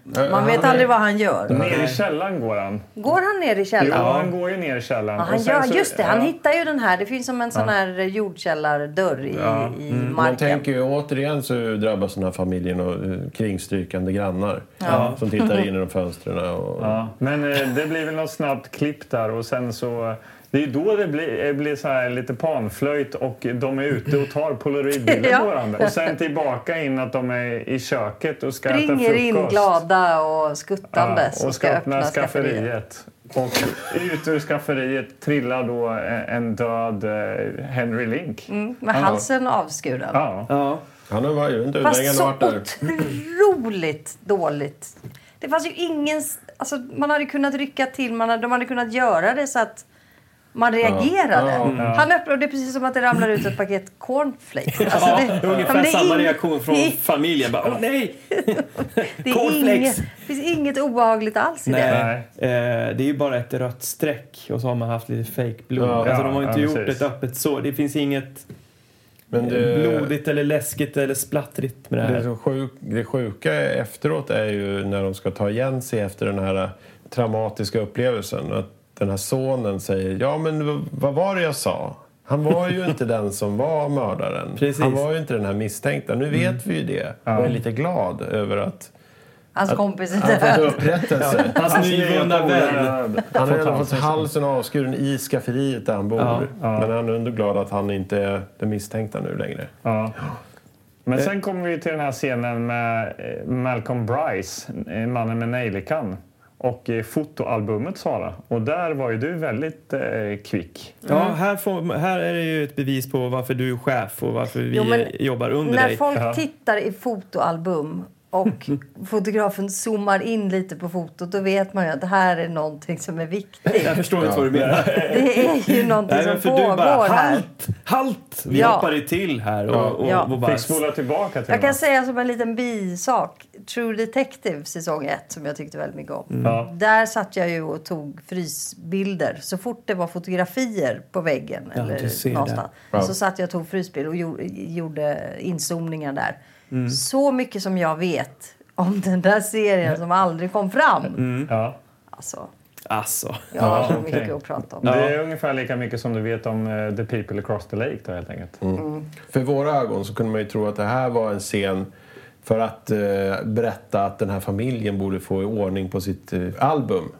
S2: bort. Nej.
S4: Man vet aldrig vad han gör.
S2: Ner i källaren går han.
S4: Går han ner i
S2: Jo,
S4: källaren?
S2: han går ju ner i källaren.
S4: Ja, han
S2: Och sen
S4: gör,
S2: så-
S4: just det, han
S2: ja.
S4: hittar ju den här. Det finns som en sån
S5: Ja.
S4: här jordkällardörr i,
S5: Ja.
S4: i
S5: Mm. Man
S4: marken.
S5: tänker ju återigen så drabbas den här familjen av eh, kringstrykande grannar
S2: Ja.
S5: som
S4: (laughs)
S5: tittar in genom fönstren. Och...
S2: Ja, men eh, det blir väl något snabbt klipp där och sen så... eh, Det är ju då det blir, eh, blir så här lite panflöjt och de är ute och tar polaroidbilder
S4: (laughs) Ja.
S2: på varandra. Och sen tillbaka in att de är i köket och ska äta
S4: Springer
S2: frukost.
S4: in glada och
S2: Ja,
S4: skuttande.
S2: och ska öppna skafferiet. Och ut ur skafferiet trillar då eh, en död eh, Henry Link.
S4: Mm, med
S2: Ja.
S4: halsen avskuren.
S2: Ja.
S5: Han har ju inte
S4: Fast så otroligt dåligt. Det fanns ju ingen... Alltså, man hade kunnat rycka till, man hade, de hade kunnat göra det så att man reagerade.
S1: Ja, ja.
S4: Han öppnade och det är precis som att det ramlar ut ett paket cornflakes. Alltså,
S1: ja,
S4: det-
S1: det, är
S4: Ja, men
S1: ungefär
S4: det är
S1: samma
S4: ing-
S1: reaktion från
S4: det är-
S1: familjen. Bara, "Åh, nej!
S4: Det är
S1: Cornflakes.
S4: inget, det finns inget obehagligt alls i det.
S1: Nej. Eh, det är ju bara ett rött streck och så har man haft lite fake blod.
S5: Ja,
S1: alltså, de har ju
S5: ja,
S1: inte gjort
S5: precis.
S1: ett öppet sår. Det finns inget
S5: Men
S1: eh,
S5: det-
S1: blodigt eller läskigt eller splattrigt med det
S5: Det,
S1: här.
S5: som sjuk, det sjuka efteråt är ju när de ska ta igen sig efter den här traumatiska upplevelsen. Att den här sonen säger ja men v- vad var det jag sa? Han var ju inte den som var mördaren. Han var ju inte den här misstänkta. Nu
S1: Mm.
S5: vet vi ju det och är lite glad över att
S4: Hans
S5: att-
S4: kompis är
S5: han har fått
S4: död.
S5: upprättelse.
S1: Ja, hans
S2: Alltså,
S1: nyvunna
S5: nya polare
S1: vän.
S5: Alltså, är död. Han har redan
S1: Fått
S5: fått
S1: halsen.
S5: halsen avskuren i skafferiet där han bor. Men han är ändå glad att han inte är den misstänkta nu längre.
S2: Ja. Men sen kommer vi till den här scenen med eh, Malcolm Bryce, eh, mannen med nejlikan och eh, fotoalbumet Sara. Och där var ju du väldigt eh, kvick.
S1: Ja, här, får, här är det ju ett bevis på varför du är chef och varför vi
S4: Jo, men
S1: eh, jobbar under
S4: När
S1: dig.
S4: folk tittar i fotoalbum
S1: (laughs)
S4: och fotografen zoomar in lite på fotot då vet man ju att det här är någonting som är viktigt.
S1: Jag förstår inte vad du menar.
S4: Det är ju någonting
S1: Nej, men
S4: som
S1: för du
S4: pågår
S1: bara,
S4: här.
S1: halt, halt! Vi
S4: Ja.
S1: hoppar ju till här och, och,
S4: Ja.
S1: och bara...
S4: Fick spola
S2: tillbaka till
S4: Jag kan säga som en liten bisak, True Detective säsong 1 som jag tyckte väldigt mycket om.
S2: Mm. Ja.
S4: Där satt jag ju och tog frysbilder. Så fort det var fotografier på väggen
S1: Ja, du ser
S4: eller
S1: det.
S4: någonstans
S1: Ja.
S4: så satt jag och tog frysbilder och gjorde, gjorde inzoomningar där.
S1: Mm.
S4: Så mycket som jag vet om den där serien som aldrig kom fram.
S1: Mm.
S2: Ja.
S4: Alltså,
S1: Alltså.
S4: jag har så
S2: okej.
S4: mycket att prata om.
S2: Det är ungefär lika mycket som du vet om eh, The People Across the Lake då helt enkelt.
S4: Mm.
S5: För våra ögon så kunde man ju tro att det här var en scen för att eh, berätta att den här familjen borde få i ordning på sitt eh, album.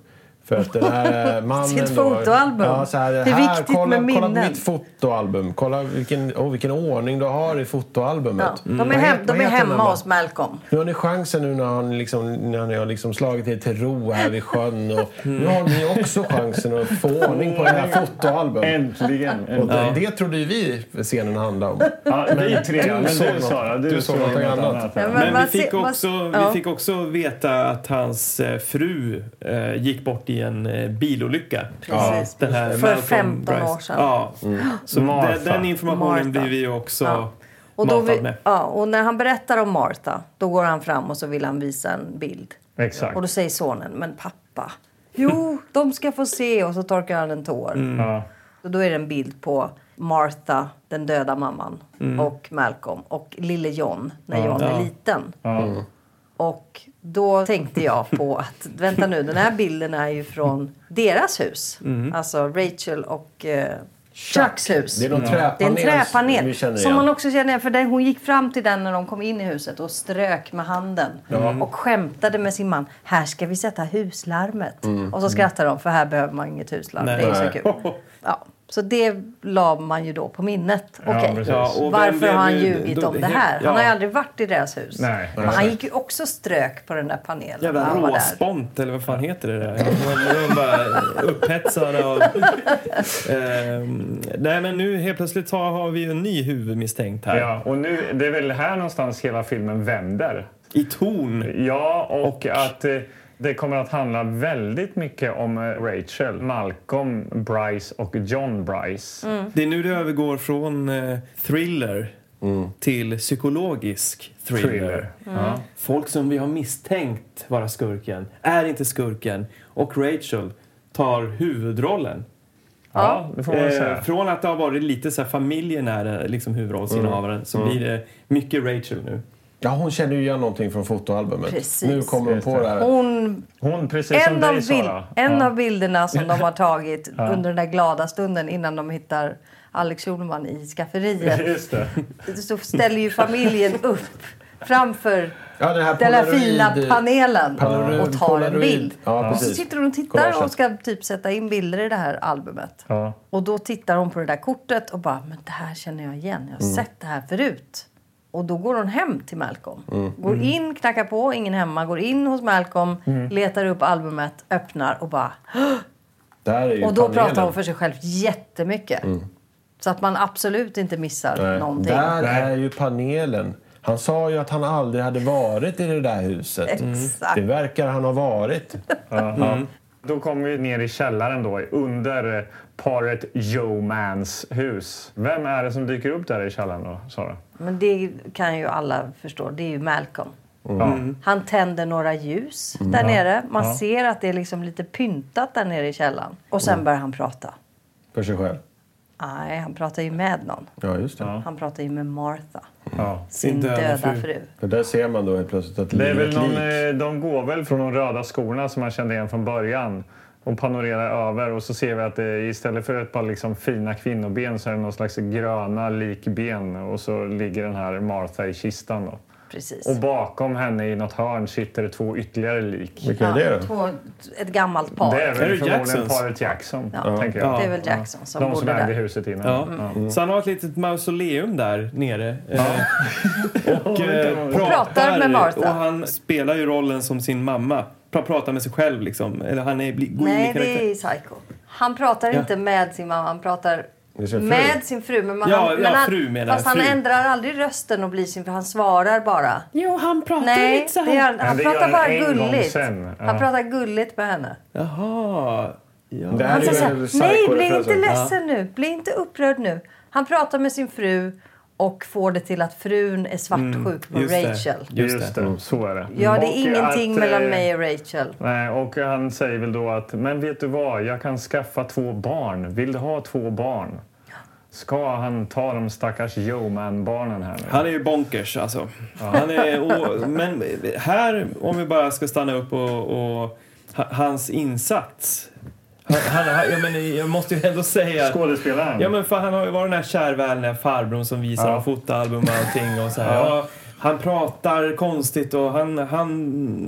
S5: För att den här eh, mannen
S4: (laughs) Sitt
S5: då-
S4: fotoalbum.
S5: Ja, så här,
S4: Det är
S5: här,
S4: viktigt
S5: kolla,
S4: med
S5: kolla
S4: minnen."
S5: mitt fotoalbum. Kolla vilken, oh, vilken ordning du har i fotoalbumet.
S4: Ja. Mm. De
S5: Mm. Vad
S4: är,
S5: het-
S4: hem,
S5: vad
S4: de är
S5: heter den
S4: hemma
S5: då?
S4: hos Malcolm.
S5: Nu har ni chansen nu när, han liksom, när ni har liksom slagit er till ro här vid sjön. Och Nu har ni också chansen att få ordning på det här fotoalbumet.
S2: Äntligen!
S5: Och det,
S2: Ja.
S5: det trodde ju vi scenen handlade om.
S2: Ja, vi tre, men du,
S5: såg något-
S2: Sara, du
S5: du såg
S2: såg
S5: något
S2: något
S5: annat.
S2: annat.
S1: Men,
S2: Men vad
S1: vi,
S2: se-
S1: fick
S2: vad-
S1: också,
S2: ja.
S1: vi fick också veta att hans eh, fru eh, gick bort i en eh, bilolycka.
S4: Precis.
S1: Den här
S4: För
S1: Malcolm
S4: 15 år
S1: Bryce.
S4: sedan.
S1: Ja.
S4: Mm.
S1: Så den,
S4: Martha.
S1: den informationen
S4: Martha.
S1: blir vi ju också
S4: Ja. Och, då
S1: matad
S4: vi,
S1: med.
S4: ja, och när han berättar om Martha, då går han fram och så vill han visa en bild.
S2: Exakt.
S4: Och då säger sonen, men
S2: (laughs)
S4: pappa, jo, de ska få se. Och så torkar han en tår.
S2: Mm. Ja.
S4: Och då är det en bild på Martha, den döda mamman,
S2: Mm.
S4: och Malcolm och lille John, när
S2: Ja.
S4: John
S2: Ja.
S4: är liten.
S2: Ja.
S4: Och då tänkte jag på att, (laughs) vänta nu, den här bilden är ju från deras hus.
S5: Mm.
S4: Alltså Rachel och eh, Chucks hus.
S5: Det är någon
S4: Ja.
S5: träpanel
S4: Det är en
S5: som vi känner
S4: träpanel. Som
S5: igen.
S4: man också känner igen, för den, hon gick fram till den när de kom in i huset och strök med handen.
S1: Mm.
S5: Ja.
S4: Och skämtade med sin man. Här ska vi sätta huslarmet.
S5: Mm.
S4: Och så skrattar de, för här behöver man inget huslarm.
S1: Nej.
S4: Det är så
S1: Nej.
S4: kul. Ja. Så det la man ju då på minnet.
S1: Ja,
S4: Okej,
S1: precis. Ja, och vem
S4: varför
S1: blev
S4: har han
S1: ju-
S4: ljugit
S1: då-
S4: om det här?
S1: ja.
S4: Han har ju aldrig varit i deras hus.
S1: Nej.
S4: Men
S1: Nej.
S4: han gick ju också strök på den där panelen. när
S1: Jävla
S4: han var där.
S1: råspont eller vad fan heter det där? De var bara upphetsade av...
S4: (laughs)
S1: Ehm, nej men nu helt plötsligt har, har vi ju en ny huvudmisstänkt här.
S2: Ja, och nu, det är väl här någonstans hela filmen vänder.
S1: I ton.
S2: Ja, och, att eh, det kommer att handla väldigt mycket om eh, Rachel, Malcolm Bryce och John Bryce.
S4: Mm.
S1: Det är nu det övergår från eh, thriller till psykologisk thriller.
S2: Mm. Thriller. Mm. Ja.
S1: Folk som vi har misstänkt vara skurken är inte skurken och Rachel tar huvudrollen. Ja,
S2: det får man väl säga.
S1: Eh, från att det har varit lite så här familjen är liksom huvudrollsinnehavaren så
S5: Mm.
S1: blir det mycket Rachel nu.
S5: Ja, hon känner ju igen någonting från fotoalbumet.
S4: Precis.
S5: Nu kommer hon
S4: Just
S5: på det här.
S4: Hon
S2: Hon,
S4: en av, bild, en av bilderna som de har tagit
S5: Ja.
S4: under den där glada stunden innan de hittar Alex Schulman i
S2: (laughs)
S4: skafferiet
S2: Just det.
S4: så ställer ju familjen upp framför
S5: Ja, den här
S4: den här
S5: polaroid-
S4: fina panelen
S5: Polaroid-
S4: och tar en
S5: polaroid.
S4: bild.
S5: Ja,
S4: och så
S5: precis.
S4: sitter hon och tittar
S5: Collagen.
S4: och ska typ sätta in bilder i det här albumet.
S2: Ja.
S4: Och då tittar hon på det där kortet och bara, men det här känner jag igen. Jag har
S5: Mm.
S4: sett det här förut. Och då går hon hem till Malcolm.
S5: Mm.
S4: Går in, knackar på, ingen hemma. Går in hos Malcolm,
S5: Mm.
S4: letar upp albumet, öppnar och bara... "Hå!"
S5: Det här är ju
S4: Och då
S5: panelen.
S4: pratar hon för sig själv jättemycket.
S5: Mm.
S4: Så att man absolut inte missar
S5: Nej.
S4: någonting.
S5: Där är ju panelen. Han sa ju att han aldrig hade varit i det där huset.
S4: Mm. Exakt.
S5: Det verkar han ha varit.
S2: Mm. Då kommer vi ner i källaren då, under eh, paret Joe-mans hus. Vem är det som dyker upp där i källaren då, Sara?
S4: Men det kan ju alla förstå. Det är ju Malcolm.
S2: Mm.
S4: Han tänder några ljus
S2: Mm.
S4: där
S2: Ja.
S4: nere. Man
S2: Ja.
S4: ser att det är liksom lite pyntat där nere i källaren. Och sen
S5: Mm.
S4: börjar han prata.
S5: För sig själv.
S4: Nej, han pratar ju med någon.
S5: Ja, just det.
S4: Han pratar ju med Martha.
S2: Ja.
S4: Sin döda döda fru. fru.
S5: För där ser man då helt plötsligt att
S2: Det är
S5: livet
S2: väl någon,
S5: lik.
S2: eh, de går väl från de röda skorna som man kände igen från början och panorerar över och så ser vi att det, istället för ett par liksom fina kvinnoben så är det någon slags gröna likben och så ligger den här Martha i kistan. Då.
S4: Precis.
S2: Och bakom henne i något hörn sitter det två ytterligare lik.
S4: Två, ett gammalt par.
S2: Det är väl förmodligen
S1: Jacksons?
S2: paret Jackson.
S1: Ja.
S2: Tänker jag.
S1: Ja.
S4: Det är väl Jackson som
S2: De
S4: bodde
S2: som
S4: där.
S2: ägde huset innan.
S1: Ja.
S2: Ja.
S1: Så han har ett litet mausoleum där nere. Eh, (laughs) och
S2: kan
S1: eh,
S2: man-
S1: pratar,
S4: Pratar med Martha.
S1: Och han spelar ju rollen som sin mamma. Pra- Pratar med sig själv liksom. Eller han är, bli- går in i
S4: Nej,
S1: karaktär.
S4: det är Psycho. Han pratar
S1: Ja.
S4: inte med sin mamma, han pratar
S1: Med sin fru.
S4: med sin fru. Men man,
S1: Ja,
S4: han,
S1: ja,
S4: men han,
S1: fru menar jag,
S4: Fast han
S1: fru.
S4: ändrar aldrig rösten och blir sin fru. Han svarar bara.
S1: Jo, han pratar
S4: Nej,
S1: lite så här.
S4: det gör han,
S1: Ja,
S4: han
S1: det gör
S4: pratar
S1: han
S4: bara
S1: en gång
S4: gulligt.
S1: sen. Ja.
S4: Han pratar gulligt med henne.
S1: Jaha. Ja.
S5: Det
S4: Han säger så här, nej, bli inte ledsen nu. Bli inte upprörd nu. Han pratar med sin fru och får det till att frun är svartsjuk
S1: Mm,
S4: på Rachel.
S2: Det. Just, det. så är det.
S4: Ja, det
S2: Och
S4: är ingenting
S2: att, eh,
S4: mellan mig och Rachel.
S2: Nej, och han säger väl då att men vet du vad, jag kan skaffa två barn. Vill du ha två barn? Ska han ta de stackars Yeoman-barnen här nu?
S1: Han är ju bonkers alltså. Han är, och, men här, om vi bara ska stanna upp och, och ha- hans insats. Han, han, han, jag, men, jag måste ju ändå säga...
S2: Skådespelaren.
S1: Ja, men för han har ju varit den här kärvänliga farbrorn som visar
S2: Mm. Ja.
S1: ja. fotoalbum och allting. Och så här.
S2: Ja.
S1: Ja. Han pratar konstigt och han, han,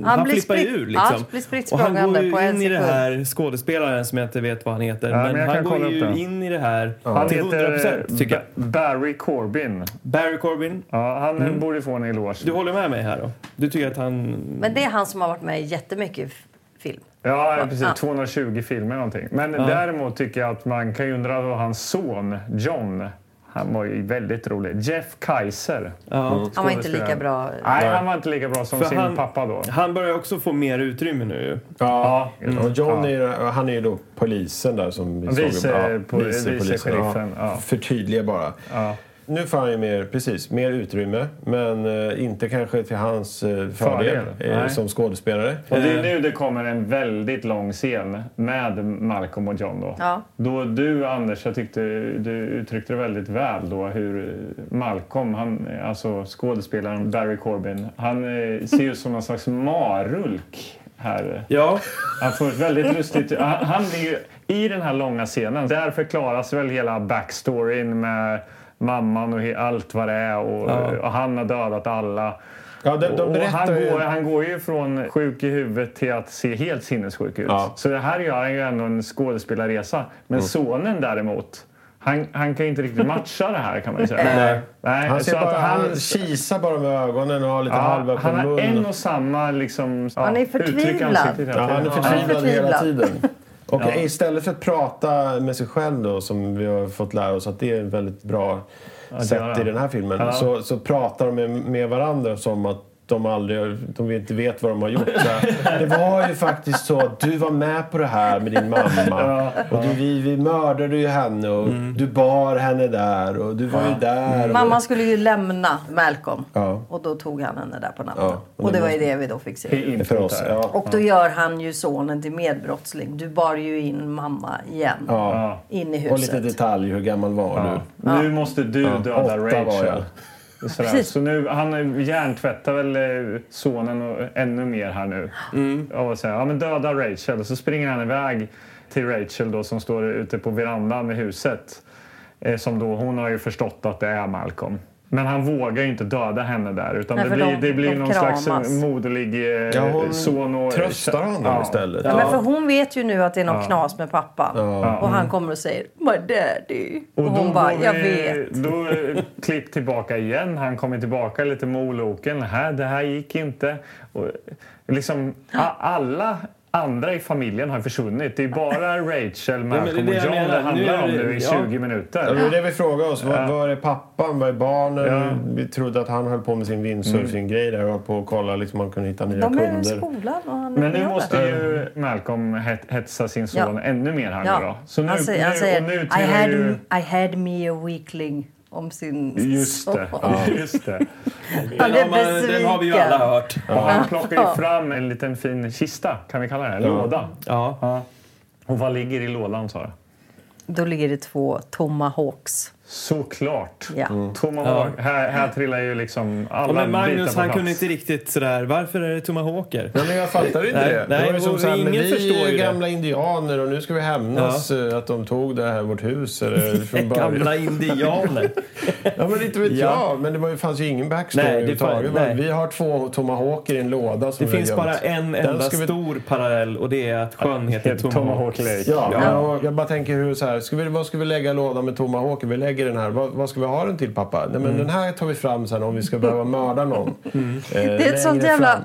S4: Han blir
S1: flippar ju
S4: spritt-
S1: ur. Liksom.
S4: ja, han blir spritt
S1: och han går
S4: språngande
S1: ju
S4: på en
S1: in i det
S4: sekund.
S1: här skådespelaren som jag inte vet vad han heter.
S2: Ja, men
S1: men
S2: jag
S1: han
S2: kan kolla
S1: går
S2: upp
S1: ju
S2: det.
S1: in i det här
S2: Han
S1: till 100
S2: heter eh,
S1: procent tycker jag. Mm.
S2: Ba- Barry Corbin.
S1: Barry Corbin.
S2: Ja, han borde få en eloge.
S1: Du håller med mig här då? Du tycker att han...
S4: Men det är han som har varit med i jättemycket f- film.
S2: Ja, precis.
S4: Ja.
S2: 220 filmer någonting. Men
S1: Ja.
S2: däremot tycker jag att man kan ju undra vad hans son John, han var ju väldigt rolig. Jeff Kaiser. Mm.
S1: Ja.
S4: Han var inte lika bra.
S2: Nej, han var inte lika bra som
S1: För
S2: sin
S1: han-
S2: pappa då.
S1: Han börjar också få mer utrymme nu ju.
S5: Ja,
S2: Mm.
S5: och John är, ju- han är ju då polisen där som vi
S2: Vice-
S5: såg.
S2: po- vicesheriffen, ja.
S5: Förtydliga bara. Nu får han ju mer, precis, mer utrymme, men eh, inte kanske till hans eh, fördel,
S2: Fördel,
S5: eh,
S2: nej.
S5: som skådespelare.
S2: Och det är nu det kommer en väldigt lång scen med Malcolm och John. Då.
S4: Ja.
S2: Då du, Anders, jag tyckte du uttryckte det väldigt väl då hur Malcolm, han, alltså skådespelaren Barry Corbin, han eh, ser ut som någon slags marulk här.
S1: Ja.
S2: Han får ett väldigt lustigt... Han, han är ju, I den här långa scenen, där förklaras väl hela backstoryn med mamman och he- allt vad det är och,
S5: Ja.
S2: och han har dödat alla.
S5: Ja, de, de
S2: Och han,
S5: berättar ju...
S2: går, han går ju från sjuk i huvudet till att se helt sinnessjuk ut.
S5: Ja. Mm.
S2: Så det här gör han ju ändå en skådespelarresa. Men sonen däremot, han, han kan ju inte riktigt matcha det här kan man ju säga.
S5: (laughs) Nej.
S2: Nej,
S5: han,
S2: så
S5: ser
S2: att
S5: bara, han,
S2: han-
S5: kisar bara med ögonen och har lite
S2: Ja,
S5: halva på
S2: han har
S5: munnen.
S2: en och samma liksom, ja,
S4: Han är
S2: uttryck i
S4: förtvivlad.
S2: ansiktet hela
S5: Ja, han är
S2: tiden.
S5: förtvivlad hela
S4: förtvivlad.
S5: tiden. Och
S2: Ja.
S5: istället för att prata med sig själv då, som vi har fått lära oss att det är ett väldigt bra
S2: Att
S5: sätt
S2: göra.
S5: i den här filmen,
S2: Ja.
S5: så, så pratar de med, med varandra som att de aldrig de inte vet vad de
S2: (laughs)
S5: har gjort. Så här, det var ju faktiskt så att du var med på det här med din mamma. Och du, vi, vi mördade ju henne och
S2: Mm.
S5: du bar henne där och du var ju där. Och,
S4: Mamman skulle ju lämna Malcolm.
S5: Ja.
S4: Och då tog han henne där på natten.
S5: Ja, och
S4: och det
S5: det
S4: var ju
S5: måste-
S4: det vi då fick se.
S5: För oss, ja.
S4: Och då gör han ju sonen till medbrottsling. Du bar ju in mamma igen.
S5: Ja.
S4: In i
S5: Och lite
S4: huset.
S5: detalj, hur gammal var du?
S2: Nu måste du
S5: Ja.
S2: döda
S5: Åtta var jag.
S2: Rachel. Sådär.
S4: Precis.
S2: Så nu, han eh, hjärntvättar väl eh, sonen och- ännu mer här nu.
S5: Mm.
S2: Och säger ja men döda Rachel. Och så springer han iväg till Rachel då som står ute på verandan i huset. Eh, Som då, hon har ju förstått att det är Malcolm. Men han vågar ju inte döda henne där utan
S4: Nej,
S2: det
S4: för
S2: blir,
S4: de-
S2: det blir
S4: de
S2: någon slags eh,
S4: kramas.
S2: moderlig eh,
S5: Ja, hon
S2: son och...
S5: tröstar honom
S2: Ja.
S5: istället.
S4: Ja, men för hon vet ju nu att det är någon
S2: Ja. Mm.
S4: knas med pappan.
S5: Ja.
S4: Och han kommer och säger My daddy. Och,
S2: Och
S4: hon
S2: då
S4: bara,
S2: går vi-
S4: jag vet.
S2: Då eh, klipp tillbaka igen. Han kommer tillbaka lite med oloken. Här, det här gick inte. Och, eh, liksom, a- alla andra i familjen har försvunnit. Det är bara Rachel, Malcolm
S1: det
S2: och
S1: jag
S2: John
S1: menar.
S2: det
S1: Nu är
S2: handlar om
S1: det-
S2: nu i
S1: ja.
S2: 20
S5: Ja, det
S2: minuter.
S5: var det vi frågade oss. Var, var är pappan? Var är barnen? Vi trodde att han höll på med sin
S1: Mm.
S5: windsurfing-grej där och höll på att kolla liksom, om han kunde hitta nya
S4: De är i
S5: kunder.
S4: skolan och han är
S2: Men nu
S4: med.
S2: måste ju Malcolm het, hetsa sin son
S4: Ja.
S2: ännu mer här
S4: Ja.
S2: nu då. Så nu,
S4: han säger, han
S2: nu,
S4: säger
S2: och nu
S4: I,
S2: trillar
S4: had,
S2: ju...
S4: I had me a weakling om sin
S2: Just
S4: son.
S2: det. Just det.
S4: Han
S1: Den
S4: är
S1: har, man, den har vi ju alla
S4: besviken.
S1: hört.
S2: Och han plockar ju fram en liten fin kista, kan vi kalla det? Eller låda.
S1: Ja.
S2: Ja. Och vad ligger i lådan, Sara?
S4: Då ligger det två tomma hawks.
S2: Såklart.
S4: Ja.
S1: Mm.
S2: Tomahawk. Här, här trillar ju liksom alla
S1: Ja, men
S2: bitar
S1: Magnus
S2: på
S1: han
S2: plats.
S1: kunde inte riktigt sådär, varför är det tomahawker?
S5: Nej, men jag fattar inte
S1: Nej,
S5: det.
S1: nej,
S5: det var ju som
S1: och
S5: så här,
S1: ingen
S5: men vi
S1: förstår
S5: är
S1: ju
S5: ju
S1: det.
S5: gamla indianer och nu ska vi hämnas eh, att de tog det här vårt
S1: (laughs)
S5: hus. Eller, från början.
S1: Gamla
S5: (laughs)
S1: indianer.
S5: Ja, men inte vet
S1: Ja.
S5: jag. Men det var ju, fanns ju ingen backstory
S1: Nej, det
S5: överhuvudtaget.
S1: fanns- nej.
S5: Vi har två tomahawker i en låda som
S1: Det
S5: vi
S1: finns
S5: har gömt.
S1: bara en
S5: Den
S1: enda
S5: ska vi-
S1: stor parallell och det är att sjön heter
S2: Tomahawk
S1: Tomahawk
S2: Lake.
S1: Lake.
S5: Ja, men jag- jag bara tänker hur så här, ska vi, vad ska vi lägga i lådan med tomahawker? Vi lägger den här. Vad, vad ska vi ha den till pappa? Nej, men
S1: Mm.
S5: den här tar vi fram sen om vi ska behöva
S1: (laughs)
S5: mörda någon. Eh,
S4: Det är ett sånt jävla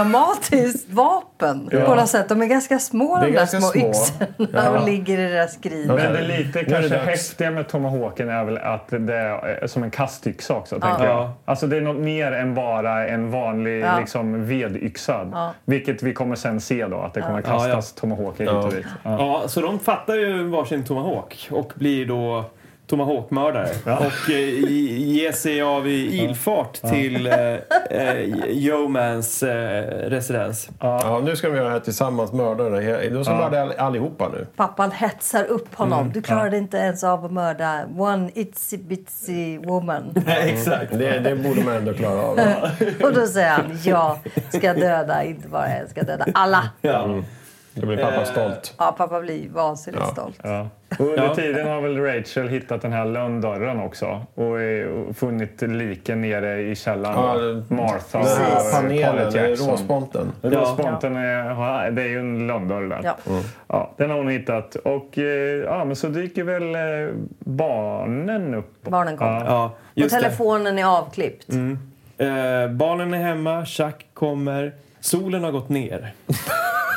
S4: odramatiskt vapen. På något sätt. De är ganska små
S5: Det är
S4: de där
S5: ganska
S4: små
S5: små.
S4: yxorna
S5: Ja.
S4: och ligger i det där skrinet.
S2: Men det lite
S5: Nu är det
S2: kanske
S5: dags.
S2: häftiga med Tomahawken är väl att det är eh, som en kastyxa också. Tänker jag.
S1: Ja.
S2: Alltså det är något mer än bara en vanlig
S4: Ja.
S2: liksom, vedyxa.
S4: Ja.
S2: Vilket vi kommer sen se då, att det kommer
S1: Ja,
S2: kastas Tomahawker hit och dit. Ja.
S1: Ja, så de fattar ju varsin tomahawk och blir då tomahawkmördare och eh, i- ger sig av i ilfart till eh, eh, Yeomans eh, residens.
S5: Ja, nu ska vi göra det här tillsammans. Mörda den. här. De ska mörda all- allihopa nu.
S4: Pappan hetsar upp honom. Du klarade inte ens av att mörda one itsy bitsy woman.
S1: (laughs) Exakt.
S5: Det, det borde man ändå
S1: (laughs)
S5: klara av.
S4: och då säger han jag ska döda inte bara en, jag ska döda alla.
S1: Ja.
S5: Då blir
S1: Eh,
S5: pappa stolt.
S4: Ja, pappa blir vansinnigt
S5: Ja.
S4: stolt.
S2: Ja. Och under
S1: Ja.
S5: typ-
S2: tiden har väl Rachel hittat den här lönndörren också och, eh, och funnit liken nere i källaren.
S5: Ja,
S2: Martha
S5: Den här
S2: och eh,
S5: panelen,
S2: Paulette
S5: eller
S2: Jackson.
S5: råsponten.
S2: Råsponten är, eh, det är ju en lönndörr där.
S4: Ja.
S1: Mm.
S2: Ja, den har hon hittat. Och eh, ja, men så dyker väl eh, barnen upp.
S4: Barnen kommer.
S2: Ja.
S1: Ja,
S4: och
S1: just det.
S4: telefonen är avklippt.
S1: Eh, barnen är hemma, Chuck kommer, solen har gått ner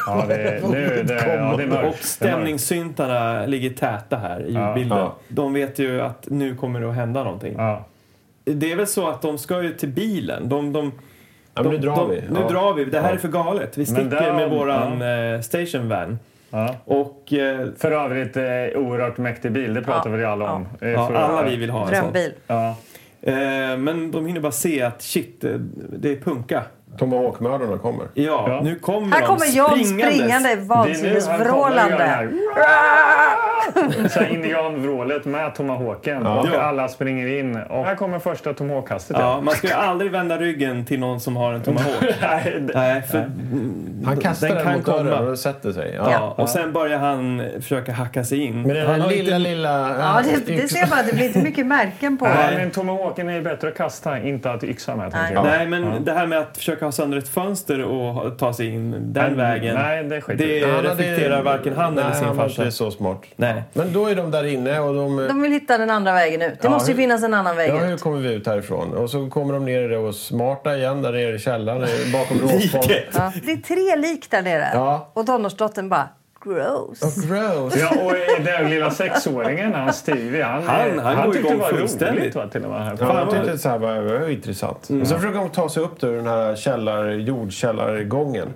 S2: Ja, det, nu, är det, ja, det är
S1: och
S2: mörkt. Det är mörkt.
S1: stämningssyntarna ligger täta här i ljudbilden.
S5: Ja.
S1: De vet ju att nu kommer det att hända någonting.
S2: Ja.
S1: Det är väl så att de ska ju till bilen. De, de,
S5: Ja, men nu
S1: de-
S5: drar
S1: de,
S5: vi.
S1: Nu
S5: Ja.
S1: drar vi. Det här är för galet. Vi sticker
S2: där-
S1: med våran eh, station van.
S2: Ja.
S1: Och eh,
S2: För övrigt, eh, oerhört mäktig bil. Det pratar
S4: Ja.
S2: väl alla om. Eh,
S1: ja,
S2: för-
S1: alla vi vill ha en sån.
S4: Drömbil.
S2: Ja.
S1: Eh, men de hinner bara se att shit, eh, det är punka.
S5: Tomahawkmördarna kommer.
S1: Ja,
S2: Ja.
S1: nu kommer
S4: Här
S1: de
S4: kommer John
S1: springandes.
S4: springande
S2: Det är nu han kommer och gör
S4: vansinnesvrålande.
S2: det här. Så här indianvrålet med tomahawken. Och
S1: Ja.
S2: alla springer in. Och här kommer första tomahawkkastet.
S1: Ja, man ska ju aldrig vända ryggen till någon som
S5: (laughs)
S1: har en tomahawk.
S2: Nej, det-
S1: Nej, för
S5: Han kastar
S1: Den
S5: den,
S1: kan
S5: mot dörren
S1: komma.
S5: och den sätter sig. Ja.
S1: Ja, och sen börjar han försöka hacka sig in.
S5: Men den
S1: han
S5: här
S1: har
S5: lilla,
S1: inte-
S5: lilla...
S4: Ja, det, det ser man. Det blir inte mycket märken på.
S2: Nej, men tomahawken är ju bättre att kasta, inte att yxa med. tänker jag.
S1: Nej, men det här med att försöka ha sönder ett fönster och ha- ta sig in den vägen.
S2: Nej, det skiter
S1: det
S2: vi i.
S5: Han hade-
S1: reflekterar varken han eller
S5: Nej,
S1: sin
S5: han var inte
S1: farsa.
S5: så smart.
S1: Nej.
S5: Men då är de där inne och de...
S4: De vill hitta den andra vägen ut. Det
S5: Ja,
S4: måste ju
S5: hur-
S4: finnas en annan väg
S5: Ja,
S4: ut.
S5: hur kommer vi ut härifrån? Och så kommer de ner i det och smarta igen där nere i källaren, eh, bakom råspån.
S1: Liket!
S4: Ja, det är tre lik där nere.
S5: Ja.
S4: Och tonårsdottern bara gross.
S2: Och gross. Ja, och den lilla sexåringen, han Stevie, han,
S5: Han- han går
S2: tyckte det
S5: igång
S2: var
S5: fullständigt.
S2: roligt va, till och med. Här.
S5: Ja, han tyckte det här var, var intressant. Och så försöker hon ta sig upp ur den här källar, jordkällargången.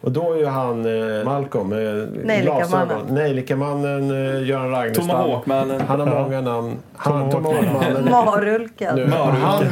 S5: Och då är ju han eh, Malcolm. Eh,
S4: Nejlikamannen.
S5: glasögon. Nejlikamannen, eh, Göran Ragnarstam.
S1: Tomahawkmannen.
S5: Han har många namn. Han, Tomahawkmannen.
S4: Marulken.
S5: Nu, han,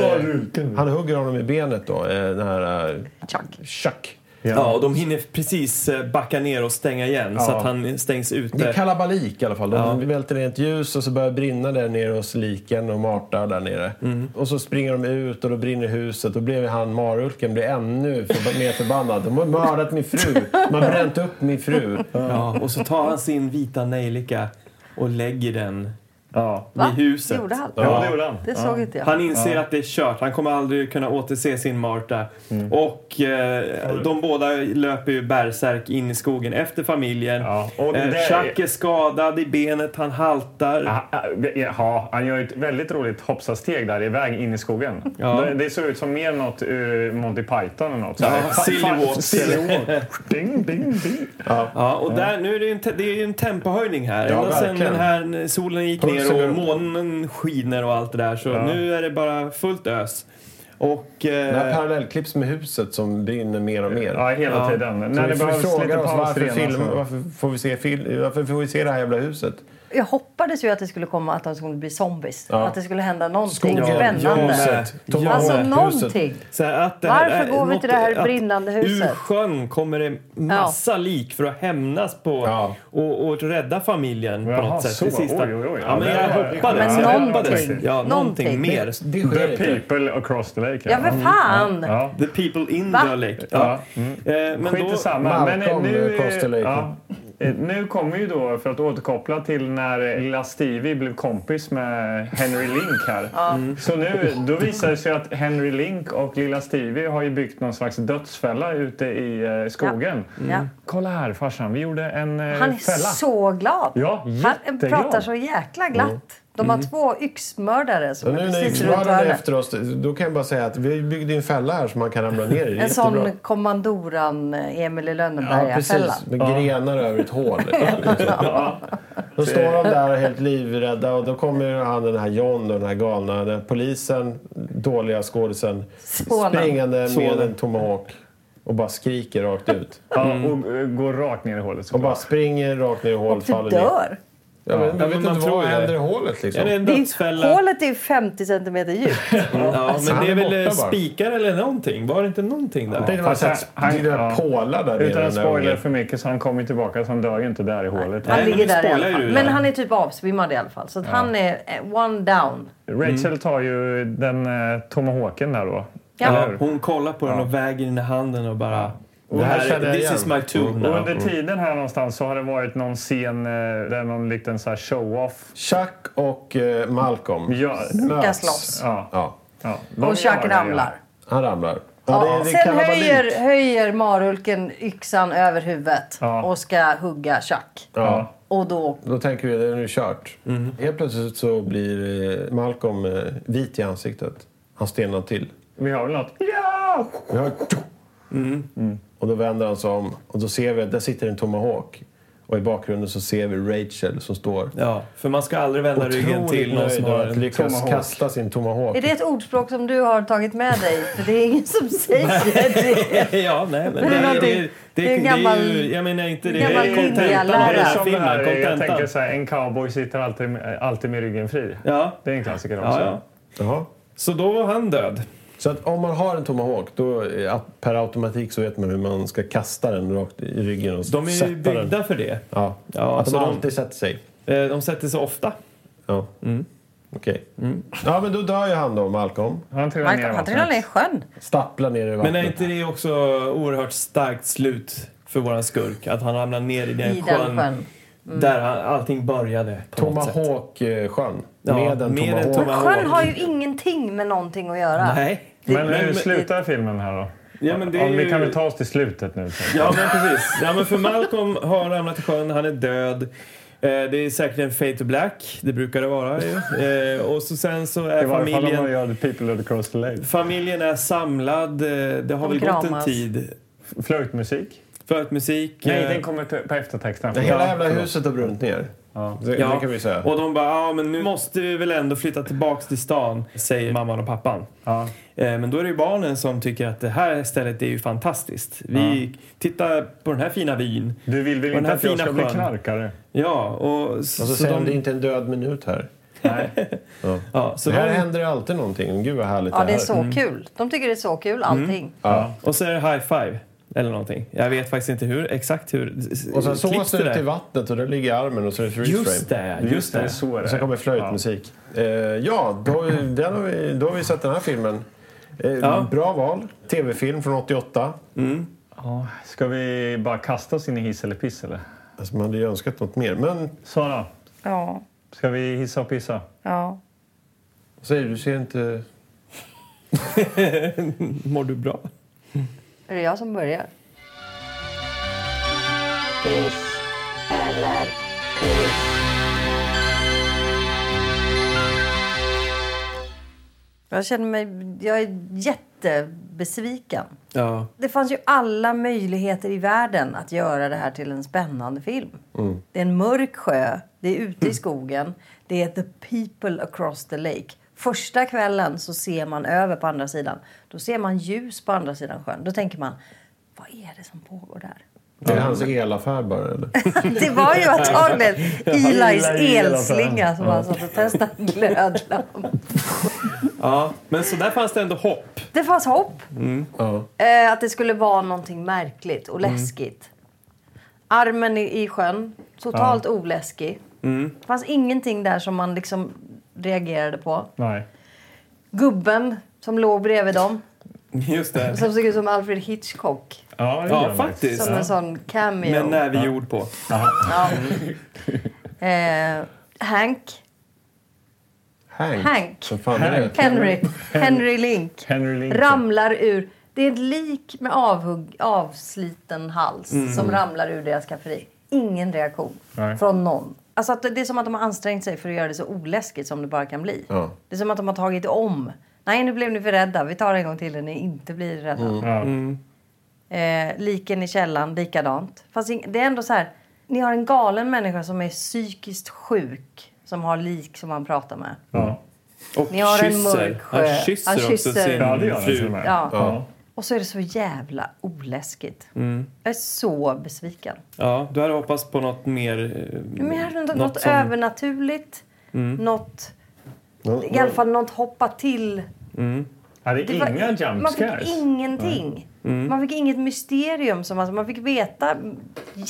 S5: hugger, han hugger honom i benet då, eh, den här... eh, Chuck.
S1: Ja. och de hinner precis eh, backa ner och stänga igen så
S5: Ja.
S1: att han stängs ute.
S5: Det är kalabalik i alla fall. De
S1: Ja.
S5: välter ner ett ljus och så börjar det brinna där nere hos liken och Marta där nere.
S2: Mm.
S5: Och så springer de ut och då brinner huset. Då blev han Marulken blev ännu förb- mer förbannad. De har mördat min fru. De har bränt upp min fru.
S1: Ja, och så tar han sin vita nejlika och lägger den
S4: Va?
S1: i huset.
S4: Gjorde han?
S1: Ja, det gjorde han.
S4: Det såg inte jag.
S1: Han inser att det är kört. Han kommer aldrig kunna återse sin Marta.
S2: Mm.
S1: Och eh, de båda löper ju bärsärk in i skogen efter familjen.
S2: Ja, och
S1: eh,
S2: det-
S1: Chuck är skadad i benet, han haltar.
S2: Ja, han gör ett väldigt roligt hoppsasteg där iväg in i skogen.
S1: Ja.
S2: Det, det såg ut som mer något ur Monty Python eller något.
S1: Ja,
S2: Fa- fa-
S1: Silly Walk.
S2: Silly Walk. ding, ding, ding.
S1: Ja, och där, nu är det, ju en te- det är ju en tempohöjning här.
S5: Ja,
S1: Ända sen
S5: verkligen.
S1: den här solen gick
S5: Pulsen
S1: ner
S5: går
S1: och
S5: upp.
S1: månen skiner och allt det där. Så nu är det bara fullt ös. Och...
S5: Det här
S1: Eh,
S5: parallellklipps med huset som brinner mer och mer.
S2: Ja, hela
S1: Ja.
S2: tiden.
S5: Så
S2: När det
S5: vi får-
S2: behövs lite
S5: frågar oss
S2: paus alltså.
S5: varför,
S2: redan.
S5: film,
S2: så-
S5: varför, får vi se fil, varför får vi se det här jävla huset?
S4: Jag hoppades ju att det skulle komma att de skulle bli zombies.
S5: Ja.
S4: Att det skulle hända någonting
S5: Skogen,
S4: spännande.
S5: ljuset,
S1: Ja.
S4: alltså
S5: tomaten, huset.
S4: någonting.
S1: så här att det här
S4: Varför
S1: är
S4: går vi till det här
S1: att
S4: brinnande huset?
S1: Ur sjön kommer det massa lik för att hämnas på
S5: Ja.
S1: och, och rädda familjen på
S2: Jaha,
S1: något sätt.
S2: så.
S1: Det sista.
S2: Oj, oj, oj.
S1: Ja, men
S2: Ja,
S1: jag
S2: det var-
S1: hoppades.
S4: Men
S1: jag
S4: någonting.
S1: hoppades. Ja, någonting,
S4: Någonting.
S1: mer.
S5: Det sker
S2: The
S5: inte.
S2: people across the lake.
S4: Ja, för fan!
S2: Ja.
S1: The people in
S4: Va?
S1: the lake.
S2: Ja.
S1: Ja. Eh, men
S2: Skit i
S1: då,
S2: samma. Men eh,
S5: Malcolm,
S2: nu,
S5: eh, Constellation.
S2: ja, Eh, nu kommer ju då, för att återkoppla till när eh, lilla Stevie blev kompis med Henry Link här. Mm. Så nu, då visar det sig att Henry Link och lilla Stevie har ju byggt någon slags dödsfälla ute i eh, skogen.
S4: Ja.
S2: Kolla här farsan, vi gjorde en eh,
S4: Han är
S2: fälla.
S4: så glad.
S2: Ja,
S4: han
S2: jätteglad. Mm.
S4: pratar så jäkla glatt. De har två yxmördare
S5: Så
S4: som
S5: nu
S4: är
S5: när
S4: precis runt
S5: yxmördaren är
S4: hörnet.
S5: efter oss, då kan jag bara säga att vi byggde en fälla här som man kan ramla ner i.
S4: En
S5: Jättebra.
S4: sån kommandoran eh, Emil i
S5: Ja,
S4: Lönneberga-fälla.
S5: precis. Med grenar över ett hål. Då står de där helt livrädda och då kommer ju han, den här John, då, den här galna den här polisen, dåliga skådisen,
S4: Sonen.
S5: springande med
S1: Sonen.
S5: en tomahawk och bara skriker rakt ut.
S2: Ja, och eh, går rakt ner i hålet.
S5: Mm. Och
S2: såklart.
S5: bara springer rakt ner i hål,
S4: Du
S5: faller ner.
S4: typ dör.
S5: Ja, men,
S1: Jag
S5: jag
S1: vet
S5: vet
S1: inte
S5: inte
S1: vad
S5: vad
S1: det är.
S5: händer i hålet liksom.
S1: är det en
S4: Det är-
S1: dödsfälla?
S4: Hålet är 50
S2: (laughs)
S4: centimeter djupt.
S1: Ja, men
S5: han
S1: det är
S5: är
S1: väl eh,
S5: borta bara.
S1: spikar eller någonting? Var det inte någonting där?
S5: Det är någon
S2: Fast
S5: slags
S2: han- han- ja.
S5: pålar där nere.
S2: Utan
S5: den
S2: att
S5: där
S2: spoila
S5: ungen.
S2: för mycket så han kommer ju tillbaka så han dör ju inte där i hålet.
S4: Han
S1: Nej,
S4: ligger
S1: men
S4: där
S1: du
S4: i alla
S1: spoilar ju
S4: fall.
S1: det
S4: Men
S1: där.
S4: han är typ avsvimmad i alla fall. Så att han är eh, one down.
S2: Rachel
S5: Mm.
S2: tar ju den eh, tomahawken där då.
S4: Ja.
S2: eller
S1: Ja,
S2: hur?
S1: hon kollar på den och väger den i handen och bara... Det
S5: här
S1: här
S5: känner
S1: är,
S5: jag
S1: this
S5: igen.
S1: is my tool
S2: Och
S1: now.
S2: under tiden här någonstans så har det varit någon scen eh, där någon liten så här show-off.
S5: Chuck och eh, Malcolm
S2: Ja,
S4: Ska slåss.
S2: ja,
S5: Ja,
S2: ja. De
S4: Och Chuck
S2: gör det, ja.
S4: ramlar.
S5: han ramlar. Ja,
S4: Ja,
S5: det- det
S4: Sen
S5: kalabalik.
S4: höjer, höjer marulken yxan över huvudet
S2: Ja.
S4: och ska hugga Chuck.
S5: Ja.
S4: Och då...
S5: Då tänker vi att det är nu kört.
S1: Mm.
S5: Helt plötsligt så blir eh, Malcolm eh, vit i ansiktet. Han stelnar till.
S2: Vi har väl något? Ja!
S5: Vi hör tjo!
S1: Mm.
S5: Och då vänder han sig om och då ser vi att där sitter en tomahawk. Och i bakgrunden så ser vi Rachel som står
S1: Ja, för man ska aldrig vända ryggen till
S5: otroligt
S1: någon som
S5: nöjd
S1: har
S5: över att
S1: en
S5: lyckas
S1: tomahawk.
S5: kasta sin tomahawk.
S4: Är det ett ordspråk som du har tagit med dig? För det är ingen
S1: (laughs)
S4: som säger
S1: (laughs)
S4: det.
S1: ja, nej, (laughs) men det, är-
S4: är
S1: det,
S4: någonting-
S1: är-
S4: det är
S1: det,
S4: en
S1: är
S4: gammal-
S1: ju... Jag menar inte det.
S4: gammal
S1: är kontentan
S4: kvinnliga
S1: av den här
S4: lärare.
S2: Som det här,
S1: filmen.
S2: eh, jag
S1: Kontentan.
S2: tänker så här, en cowboy sitter alltid, med- alltid med ryggen fri.
S1: Ja.
S2: Det är en klassiker också.
S1: Ja, ja.
S5: Jaha.
S1: Så då var han död.
S5: Så att om man har en tomahawk då eh, att- per automatik så vet man hur man ska kasta den rakt i ryggen och
S1: De är
S5: sätta
S1: ju
S5: den.
S1: byggda för det.
S5: Ja.
S1: Ja,
S5: att
S1: så
S5: de
S1: de-
S5: alltid sätter sig.
S1: Eh, De sätter sig ofta.
S5: Ja. Okej.
S1: Mm.
S5: Ja, men då dör ju han då, Malcolm.
S2: Han trillar ner.
S4: Malcolm, han trillar ner i sjön.
S5: Stapplar ner i vattnet.
S1: Men är inte det också oerhört starkt slut för våran skurk? Att han ramlar ner i den
S4: I den
S1: sjön
S4: sjön.
S1: där han, allting började. På något sätt.
S5: Tomahawk-sjön.
S1: Ja,
S5: med en
S1: med en
S5: tomahawk.
S1: tomahawk.
S4: Sjön har ju ingenting med någonting att göra.
S1: Nej.
S2: Men hur slutar filmen här då?
S1: Ja, men det
S2: Ja,
S1: är
S2: Vi
S1: ju-
S2: kan väl ta oss till slutet nu. så.
S1: Ja, men precis. Ja, men för Malcolm har ramlat i sjön, han är död. Eh, Det är säkert en fade to black, det brukar det vara ju. Eh, Och så sen så
S2: I
S1: är
S2: varje fall om man
S1: familjen...
S2: gör The People across the lake.
S1: Familjen är samlad, eh, det har
S4: De
S1: väl gått en
S4: kramas.
S1: tid.
S2: Flöjtmusik.
S1: Förutmusik.
S2: Nej,
S1: eh,
S2: den kommer till- på eftertexten.
S5: Hela
S2: Ja,
S5: jävla
S2: förlåt.
S5: huset har brunnit ner.
S2: Ja.
S5: Det, det kan vi säga.
S1: Och de bara, ja men nu måste vi väl ändå flytta tillbaks till stan, säger mamman och pappan. Eh, Men då är det ju barnen som tycker att det här stället är ju fantastiskt. Vi tittar på den här fina vyn.
S2: Du vill väl
S1: och den
S2: inte
S1: här
S2: att jag
S1: fina
S2: ska bli
S1: sjön.
S2: knarkare?
S1: Ja, och, s-
S5: Alltså,
S1: så
S5: sen,
S1: de-
S5: det är inte en död minut här. Ja.
S1: Ja, så
S5: det här
S1: Alltså, de-
S5: händer ju alltid någonting. Gud vad härligt
S4: Ja, det är
S5: här
S4: så
S1: Mm.
S4: kul. De tycker det är så kul allting.
S5: Ja.
S1: Och så är det high five. Eller någonting. Jag vet faktiskt inte hur, exakt hur
S5: Och sen
S1: klipps
S5: sås
S1: det
S5: det ut
S1: där.
S5: i vattnet och där ligger armen och så är det freeze
S1: Just
S5: frame.
S1: det, just, det.
S2: Så är
S5: Och sen
S2: det.
S5: kommer flöjtmusik. Eh, ja, då, den har vi, då har vi sett den här filmen. Eh,
S1: Ja.
S5: Bra val. Tv-film från 88.
S2: Ja, Ska vi bara kasta oss in i hiss eller piss eller?
S5: Alltså, man hade ju önskat något mer. Men
S2: Sara,
S4: Ja,
S2: ska vi hissa och pissa?
S4: ja.
S5: vad säger du? Du ser inte...
S1: Mår du bra?
S4: Är det jag som börjar? Jag känner mig... Jag är jättebesviken.
S1: Ja.
S4: Det fanns ju alla möjligheter i världen att göra det här till en spännande film. Det är en mörk sjö, det är ute i skogen, det är the people across the lake. Första kvällen så ser man över på andra sidan. Då ser man ljus på andra sidan sjön. Då tänker man, vad är det som pågår där?
S5: Är det hans elaffär bara eller?
S4: Det var ju antagligen Elis
S2: gillar ju
S4: elslinga som han satt och testade glödlampa.
S1: ja. Men så där fanns det ändå hopp.
S4: Det fanns hopp.
S5: Ja.
S4: Eh, att det skulle vara någonting märkligt och läskigt. Armen i, i sjön, totalt oläskig. Det fanns ingenting där som man liksom reagerade på.
S2: Nej.
S4: Gubben som låg bredvid dem,
S1: Just det.
S4: som såg ut som Alfred Hitchcock.
S2: Ja, det gör
S1: Ja,
S2: vi.
S1: faktiskt.
S4: Som en sån cameo.
S1: Men eh, när vi gjorde på.
S4: ja. eh, Hank.
S5: Hank.
S4: Hank.
S5: Vad fan är det?
S4: Henry. Henry Link.
S2: Henry Lincoln.
S4: ramlar ur... Det är ett lik med avhugg, avsliten hals som ramlar ur deras skafferi. Ingen reaktion
S2: Nej.
S4: från någon. Alltså att det det är som att de har ansträngt sig för att göra det så oläskigt som det bara kan bli.
S5: Ja.
S4: Det är som att de har tagit om. Nej, nu blev ni för rädda. Vi tar en gång till när ni inte blir rädda.
S2: Ja.
S4: Eh, liken i källan, likadant. Fast ing- det är ändå så här, ni har en galen människa som är psykiskt sjuk som har lik som han pratar med.
S2: Ja.
S1: Och
S4: Ni har en
S1: kysser.
S4: mörk sjö.
S1: Han kysser,
S4: Han
S1: också
S4: kysser.
S1: sin
S2: ja, det gör den till och
S1: fru.
S2: med.
S4: Ja.
S2: Mm. Ja.
S4: Och så är det så jävla oläskigt. Jag är så besviken.
S1: Ja, du hade hoppats på något mer... eh,
S4: Men jag hade något, något
S1: som-
S4: övernaturligt. Något,
S5: Nå-
S4: I alla fall något hoppa till.
S2: Ja, det är
S4: Det var-
S2: inga jump
S4: man fick
S2: scares.
S4: ingenting. Man fick inget mysterium. Som, alltså, man fick veta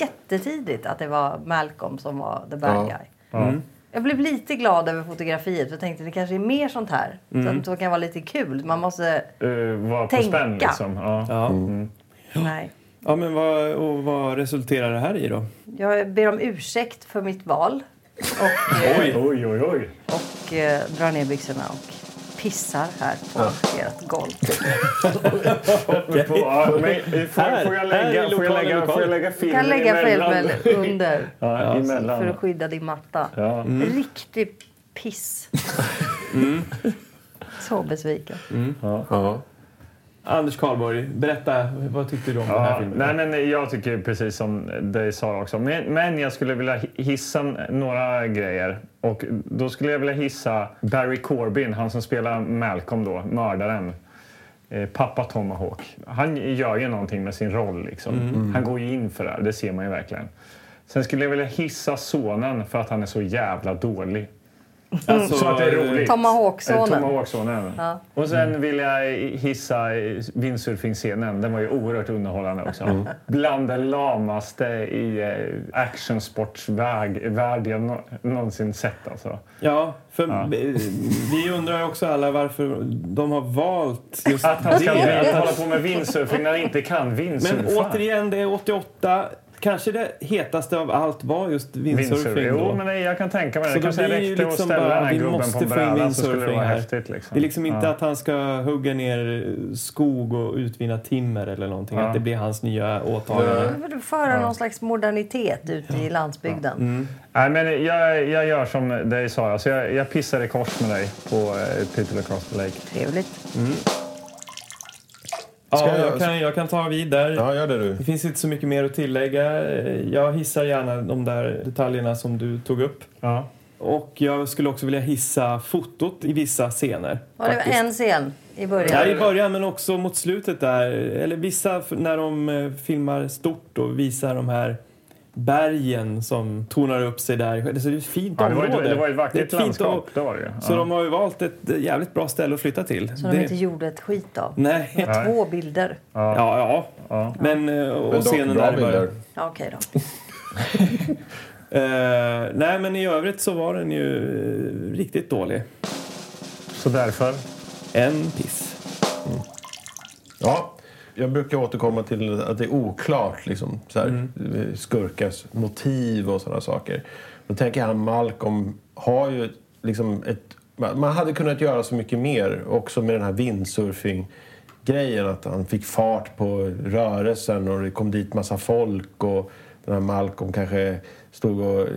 S4: jättetidigt att det var Malcolm som var the bad
S5: Ja.
S4: guy.
S2: Mm.
S4: Jag blev lite glad över fotografiet. för Jag tänkte det kanske är mer sånt här. Så att det kan vara lite kul. Man måste...
S2: Eh, var på
S4: Tänka.
S2: spänn liksom. Ja.
S1: Ja.
S4: Nej.
S1: ja, men vad, och vad resulterar det här i då?
S4: Jag ber om ursäkt för mitt val. Och, eh,
S2: Oj, oj, oj, oj.
S4: och eh, drar ner byxorna och pissar här på ert golv.
S2: Men på- ja, men, eh, får,
S1: Här,
S2: får jag
S1: här
S2: lägga,
S1: är
S2: får jag
S1: lokalen,
S2: lägga,
S1: lokalen.
S2: får jag lägga
S4: Du
S2: filmen
S4: kan lägga
S2: emellan?
S4: filmen under
S2: Ja,
S4: för att
S2: emellan.
S4: skydda din matta.
S2: Ja. Mm.
S4: Riktig
S2: (laughs)
S4: piss. Så besviken.
S5: Ja.
S1: Anders Karlborg, berätta. Vad tyckte du om den här
S2: Ja,
S1: filmen?
S2: nej, men jag tycker precis som dig sa också. Men, men jag skulle vilja hi- hissa några grejer. Och då skulle jag vilja hissa Barry Corbin, han som spelar Malcolm då, mördaren. Eh, pappa Tomahawk. Han gör ju någonting med sin roll. Liksom. Han går ju in för det här, det ser man ju verkligen. Sen skulle jag vilja hissa sonen för att han är så jävla dålig.
S1: Alltså,
S2: Så att det är roligt.
S4: Tomahawk-sonen.
S2: Eh, Tomahawk-sonen.
S4: Ja.
S2: Och sen vill jag hissa vindsurfingscenen. Den var ju oerhört underhållande också.
S1: Mm.
S2: Bland det lamaste i eh, actionsportsvärld jag nå- någonsin sett. Alltså.
S1: Ja, för eh, vi undrar ju också alla varför de har valt just
S2: Att han ska
S1: det.
S2: hålla på med windsurfing när han inte kan windsurfa.
S1: Men återigen, det är 88. Kanske det hetaste av allt var just
S2: Windsurfing.
S1: windsurfing
S2: Jo,
S1: då.
S2: men det, jag kan tänka mig
S1: Så
S2: det.
S1: då
S2: kanske
S1: blir det ju
S2: räckte att
S1: liksom
S2: ställa
S1: bara,
S2: den här
S1: vi
S2: gubben
S1: måste
S2: på
S1: få
S2: en
S1: in
S2: bräda så skulle det
S1: windsurfing
S2: vara
S1: här.
S2: häftigt. Liksom.
S1: Det är liksom inte
S2: ja.
S1: att han ska hugga ner skog och utvinna timmer eller någonting. Att det blir hans nya åtagande.
S4: Nu vill du föra någon slags modernitet ute i landsbygden.
S2: Mm. Nej, men jag, jag gör som dig sa. Alltså, jag, jag pissar i kors med dig på eh, People Across the Lake.
S4: Trevligt.
S1: Ja,
S5: Ska
S1: jag,
S5: jag-
S1: kan, jag kan ta vid där.
S5: Ja, gör det du.
S1: Det finns inte så mycket mer att tillägga. Eh, Jag hissar gärna de där detaljerna som du tog upp. Och jag skulle också vilja hissa fotot i vissa scener.
S4: Var det
S1: faktiskt.
S4: en scen i
S1: Ja,
S4: början?
S1: i början men också mot slutet där. Eller vissa, f- när de eh, filmar stort och visar de här bergen som tornar upp sig där. Alltså, det är ett fint
S2: Ja, det var
S1: område.
S2: ju- det var ju ett vackert
S1: är fint
S2: landskap,
S1: o-
S2: det var det ju.
S1: Så
S2: Ja.
S1: de har ju valt ett eh, jävligt bra ställe att flytta till.
S4: Som de inte gjorde ett skit av.
S1: Nej.
S4: Det var två bilder.
S1: Ja, ja. Men, eh, och
S5: Men dock
S1: scenen
S5: bra
S1: där i början.
S5: bilder.
S4: Ja, Okej då.
S1: Eh, nej, men i övrigt så var den ju eh, riktigt dålig.
S2: Så därför?
S1: En piss.
S5: Ja, jag brukar återkomma till att det är oklart liksom, så här, skurkars motiv och sådana saker. Då tänker jag att Malcolm har ju liksom ett... Man man hade kunnat göra så mycket mer också med den här windsurfing grejen att han fick fart på rörelsen och det kom dit massa folk och den här Malcolm kanske stod och eh,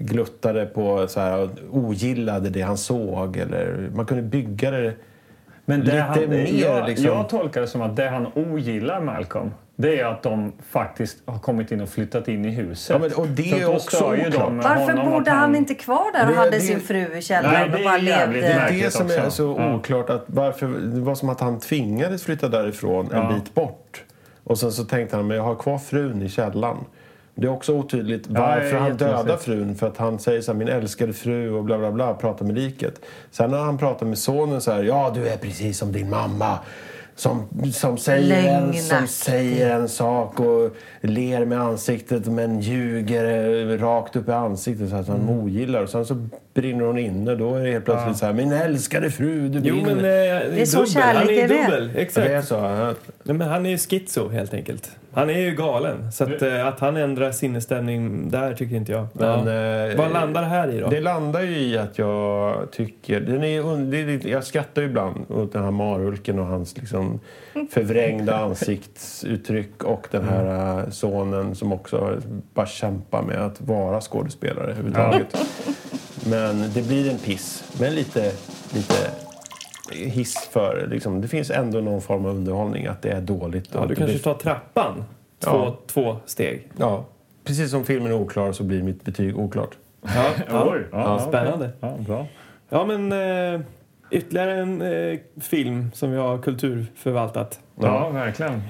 S5: gluttade på så här, och ogillade det han såg eller man kunde bygga det
S2: Men det
S5: lite
S2: han,
S5: mer
S2: jag,
S5: liksom.
S2: jag tolkar det som att det han ogillar Malcolm det är att de faktiskt har kommit in och flyttat in i huset.
S5: Ja, men- och det
S2: Så
S5: är
S2: då
S5: också
S2: stör ju
S5: oklart.
S2: de
S4: Varför
S2: honom att
S4: bodde han inte kvar där och
S5: Det-
S4: hade
S5: det-
S4: sin fru i
S2: Nej,
S4: källaren
S2: det
S4: och
S2: är
S4: bara
S2: jävligt
S5: Det
S4: levde?
S5: är
S2: Märkligt
S5: det som är
S2: också.
S5: så
S2: Ja.
S5: oklart. Att varför, det var som att han tvingades flytta därifrån en bit bort. Och sen så tänkte han, men jag har kvar frun i källan. Det är också otydligt varför
S2: det är
S5: han
S2: jättekonstigt.
S5: dödar frun. För att han säger så här, min älskade fru och bla bla bla, pratar med liket. Sen när han pratar med sonen så här, ja du är precis som din mamma. Som, som, säger en, som
S4: Lögnaktig.
S5: säger en sak och ler med ansiktet men ljuger eh, rakt upp i ansiktet så att han
S1: Mm.
S5: ogillar. Och sen så brinner hon inne. Då är det helt plötsligt så här, min älskade fru, du
S1: Jo,
S5: brinner.
S1: men... Eh, det är
S4: så kärlek
S1: Han är
S4: är det.
S1: dubbel. Exakt.
S5: Det är så. ja.
S1: Nej, men han är ju schizo helt enkelt. Han är ju galen. Så att, eh, att han ändrar sinnesstämning där tycker inte jag.
S5: Men,
S1: ja.
S5: eh,
S1: Vad landar det här i då?
S5: Det landar ju i att jag tycker... Den är, un- det är, lite- jag skrattar ju ibland åt den här marulken och hans liksom (laughs) förvrängda ansiktsuttryck och den här eh, sonen som också bara kämpar med att vara skådespelare överhuvudtaget. Men det blir en piss. Men lite, lite hiss för... Liksom, det finns ändå någon form av underhållning att det är dåligt. och
S1: ja,
S5: att
S1: du
S5: det
S1: kanske
S5: blir-
S1: tar trappan. Två,
S5: Ja.
S1: två steg.
S5: Ja, precis som filmen är oklar så blir mitt betyg oklart.
S1: Ja, ja.
S2: (laughs) Oj, ja,
S1: Spännande.
S2: Ja, bra.
S1: Ja, men eh, ytterligare en eh, film som vi har kulturförvaltat.
S2: Ja, verkligen.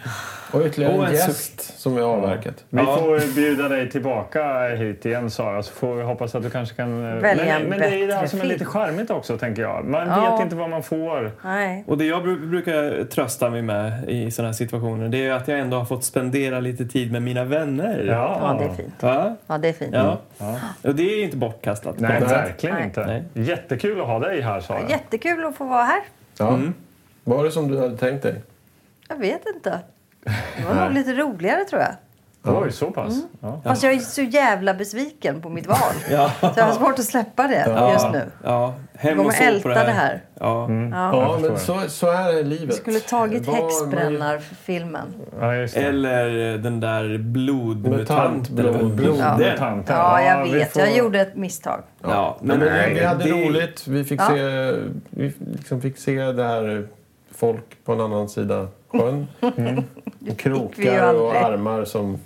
S5: Och ytterligare
S1: Och
S5: en
S1: en
S5: gäst som vi har avverkat.
S2: Vi
S1: Ja.
S2: får bjuda dig tillbaka hit igen Sara, så får vi hoppas att du kanske kan... eh,
S4: Välja
S2: men,
S4: en
S2: men det är ju det här
S4: bättre
S2: som är
S4: film.
S2: lite charmigt också, tänker jag. Man
S4: Ja.
S2: vet inte vad man får.
S4: Nej.
S1: Och det jag bru- brukar trösta mig med i sådana här situationer det är ju att jag ändå har fått spendera lite tid med mina vänner.
S4: Ja, det är fint.
S1: Va?
S4: Ja, det är fint.
S1: Ja. Och det är ju inte bortkastat.
S2: Nej,
S1: Nej.
S2: verkligen
S4: Nej.
S2: inte.
S1: Nej.
S2: Jättekul att ha dig här Sara.
S4: Jättekul att få vara här.
S5: Ja. Var det som du hade tänkt dig?
S4: Jag vet inte. Det var nog lite roligare tror jag.
S2: Oj, så pass.
S5: Mm.
S2: Ja.
S4: Fast jag är så jävla besviken på mitt val.
S1: Ja.
S4: Så jag har svårt att släppa det just nu.
S1: Ja. Hem
S4: Jag
S1: och
S4: kommer
S1: sov på det
S4: älta
S1: här.
S4: det här.
S1: Ja.
S5: Ja,
S2: förstår
S5: men så, så här är livet.
S4: Jag skulle tagit
S5: Var-
S4: häxbrännar-filmen.
S2: Ja, just det.
S1: Eller den där blodmutant.
S5: Mutant, blod-
S1: eller-
S5: blod-
S1: Den.
S2: Mutant här.
S4: Ja, jag
S2: vi
S4: vet.
S2: får-
S4: Jag gjorde ett misstag.
S1: Ja,
S5: Men,
S1: men,
S5: vi hade
S1: det-
S5: roligt. Vi fick,
S4: Ja.
S5: se, vi liksom fick se det här folk på en annan sida sjön. Och
S4: vi ju
S5: Krokar
S4: aldrig.
S5: och armar som...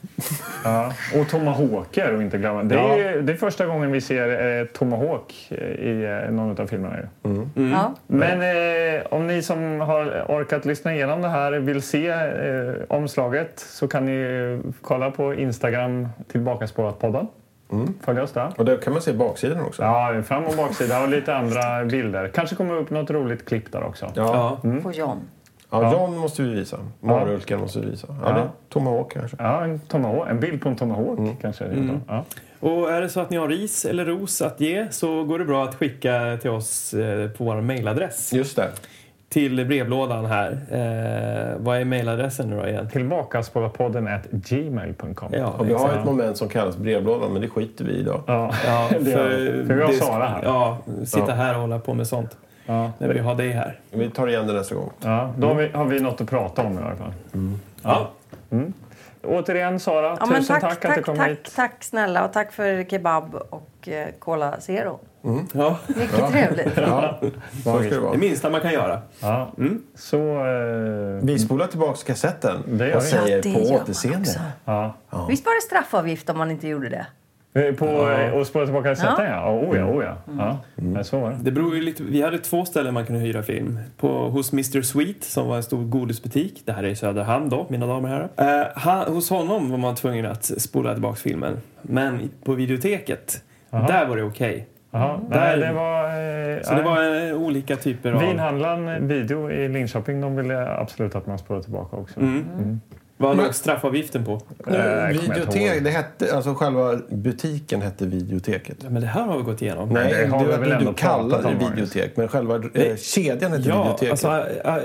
S2: Ja. Och Tomahawker och inte glömma. Det är,
S5: Ja.
S2: ju- det är första gången vi ser eh, Tomahawk eh, i eh, någon av filmerna. ju.
S4: Ja.
S2: Men eh, om ni som har orkat lyssna igenom det här vill se eh, omslaget så kan ni eh, kolla på Instagram Tillbakaspårat-podden.
S5: Mm.
S2: Följ oss där.
S5: Och där kan man se baksidan också.
S2: Ja, fram och baksida och lite andra bilder. Kanske kommer upp något roligt klipp där också.
S5: Ja.
S1: Ja.
S4: På John.
S5: ja, John måste vi visa. Marulken måste vi visa. Eller
S2: Ja.
S5: Tomahawk kanske.
S2: Ja, en, tomahawk, en bild på en tomahawk
S5: Mm.
S2: kanske. rent av. Ja.
S1: Och är det så att ni har ris eller ros att ge så går det bra att skicka till oss eh, på vår mejladress.
S5: Just det.
S1: Till brevlådan här. Eh, vad är mejladressen nu då igen?
S2: Tillbakaspårarpodden at gmail.com.
S1: Ja,
S5: Och vi har
S1: exakt.
S5: ett moment som kallas brevlådan, men det skiter vi i idag.
S2: Ja.
S1: Ja,
S2: (laughs) det gör vi. För vi har
S1: det-
S2: Sara här.
S1: Ja, sitta
S5: Ja.
S1: här och hålla på med sånt.
S2: Ja.
S1: När vi har dig här.
S5: Vi tar igen det nästa gång.
S2: Ja, då har vi, har vi något att prata om i alla fall.
S1: Ja.
S2: Återigen Sara,
S4: Ja, men
S2: tusen
S4: tack,
S2: tack,
S4: tack,
S2: att
S4: tack,
S2: du kom
S4: tack,
S2: hit.
S4: snälla och tack för kebab och eh, Cola Zero.
S1: Ja.
S4: Mycket trevligt.
S5: Ja. Så ska det vara.
S1: Det minsta man kan göra.
S2: Ja.
S1: Mm.
S2: Så, eh,
S5: Vi spolar tillbaka kassetten
S2: Det gör
S5: och
S2: vi.
S5: säger
S4: Ja, det gör
S5: på
S4: man också.
S5: återseende.
S2: ja.
S4: Visst var det straffavgift om man inte gjorde det?
S2: Eh, På, eh, Och spola tillbaka kassetten ja. ja. Oh ja, oh ja.
S4: Mm.
S2: ja.
S1: Mm.
S2: Men så var det.
S1: Det beror ju lite, vi hade två ställen man kunde hyra film. På, hos Mr Sweet som var en stor godisbutik. Det här är i Söderhamn då, mina damer och herrar. Eh, han, hos honom var man tvungen att spola tillbaka filmen. Men på videoteket, där var det okej.
S2: Jaha, nej,
S1: Mm. Där-
S2: det var... Eh,
S1: Så det var eh, olika typer av...
S2: Vinhandlaren eh, Video i Linköping de ville absolut att man spolade tillbaka också.
S1: Mm. Vad låg straffavgiften på?
S2: Eh, jag kommer inte
S5: Videotek,
S2: ihåg.
S5: det hette, alltså själva butiken hette Videoteket.
S1: Ja, men det här har vi gått igenom.
S5: Nej,
S2: det har vi väl
S5: du,
S2: ändå
S5: du kallar
S2: pratat
S5: det
S2: om, Magnus.
S5: videotek, men själva eh,
S1: Nej.
S5: kedjan heter
S1: Ja,
S5: videoteket.
S1: alltså, äh, äh,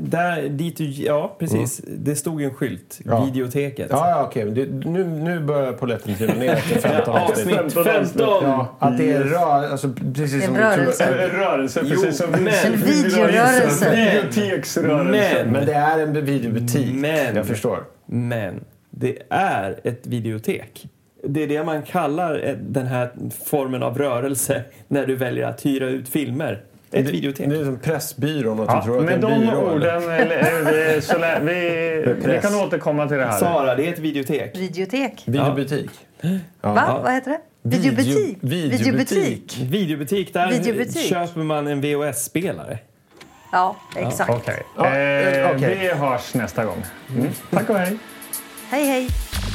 S1: där, dit du, ja, precis. Det stod ju en skylt.
S5: Mm. Ja.
S1: Videoteket.
S5: Ja, ja okej. men det- Nu, nu börjar polletten trilla
S2: (laughs)
S5: ner efter 15 avsnitt.
S1: Avsnitt 15!
S5: Ja, att det
S2: Mm.
S5: är rör, alltså, precis
S4: Det är
S5: som
S4: en rörelse.
S5: tror-
S2: En Eh, rörelse, precis som
S1: men-
S2: vi-
S1: En
S2: vi vill ha
S4: videorörelse.
S2: in- Videoteksrörelse.
S1: Men-
S5: Men det är en videobutik.
S1: Men-
S5: Jag förstår.
S1: Men det är ett videotek. Det är det man kallar eh, den här formen av rörelse (laughs) när du väljer att hyra ut filmer. Ett
S5: det,
S1: videotek.
S5: Det är som Pressbyrån, att
S2: Ja,
S5: du tror att det är
S2: med
S5: en
S2: de
S5: byrå. eller?
S2: orden, eller, eh, vi, så lä, vi, vi
S5: press.
S2: kan återkomma till det här.
S1: Sara, det är ett videotek.
S4: Videotek?
S5: Videobutik.
S4: Va? Vad heter det? Videobutik?
S5: Video- videobutik.
S1: Videobutik, där
S4: Videobutik.
S1: köper man en VHS-spelare.
S4: Ja, exakt.
S2: Okej.
S5: Ja,
S2: Eh,
S5: okej.
S2: Vi hörs nästa gång. Mm. Tack och hej.
S4: Hej, hej.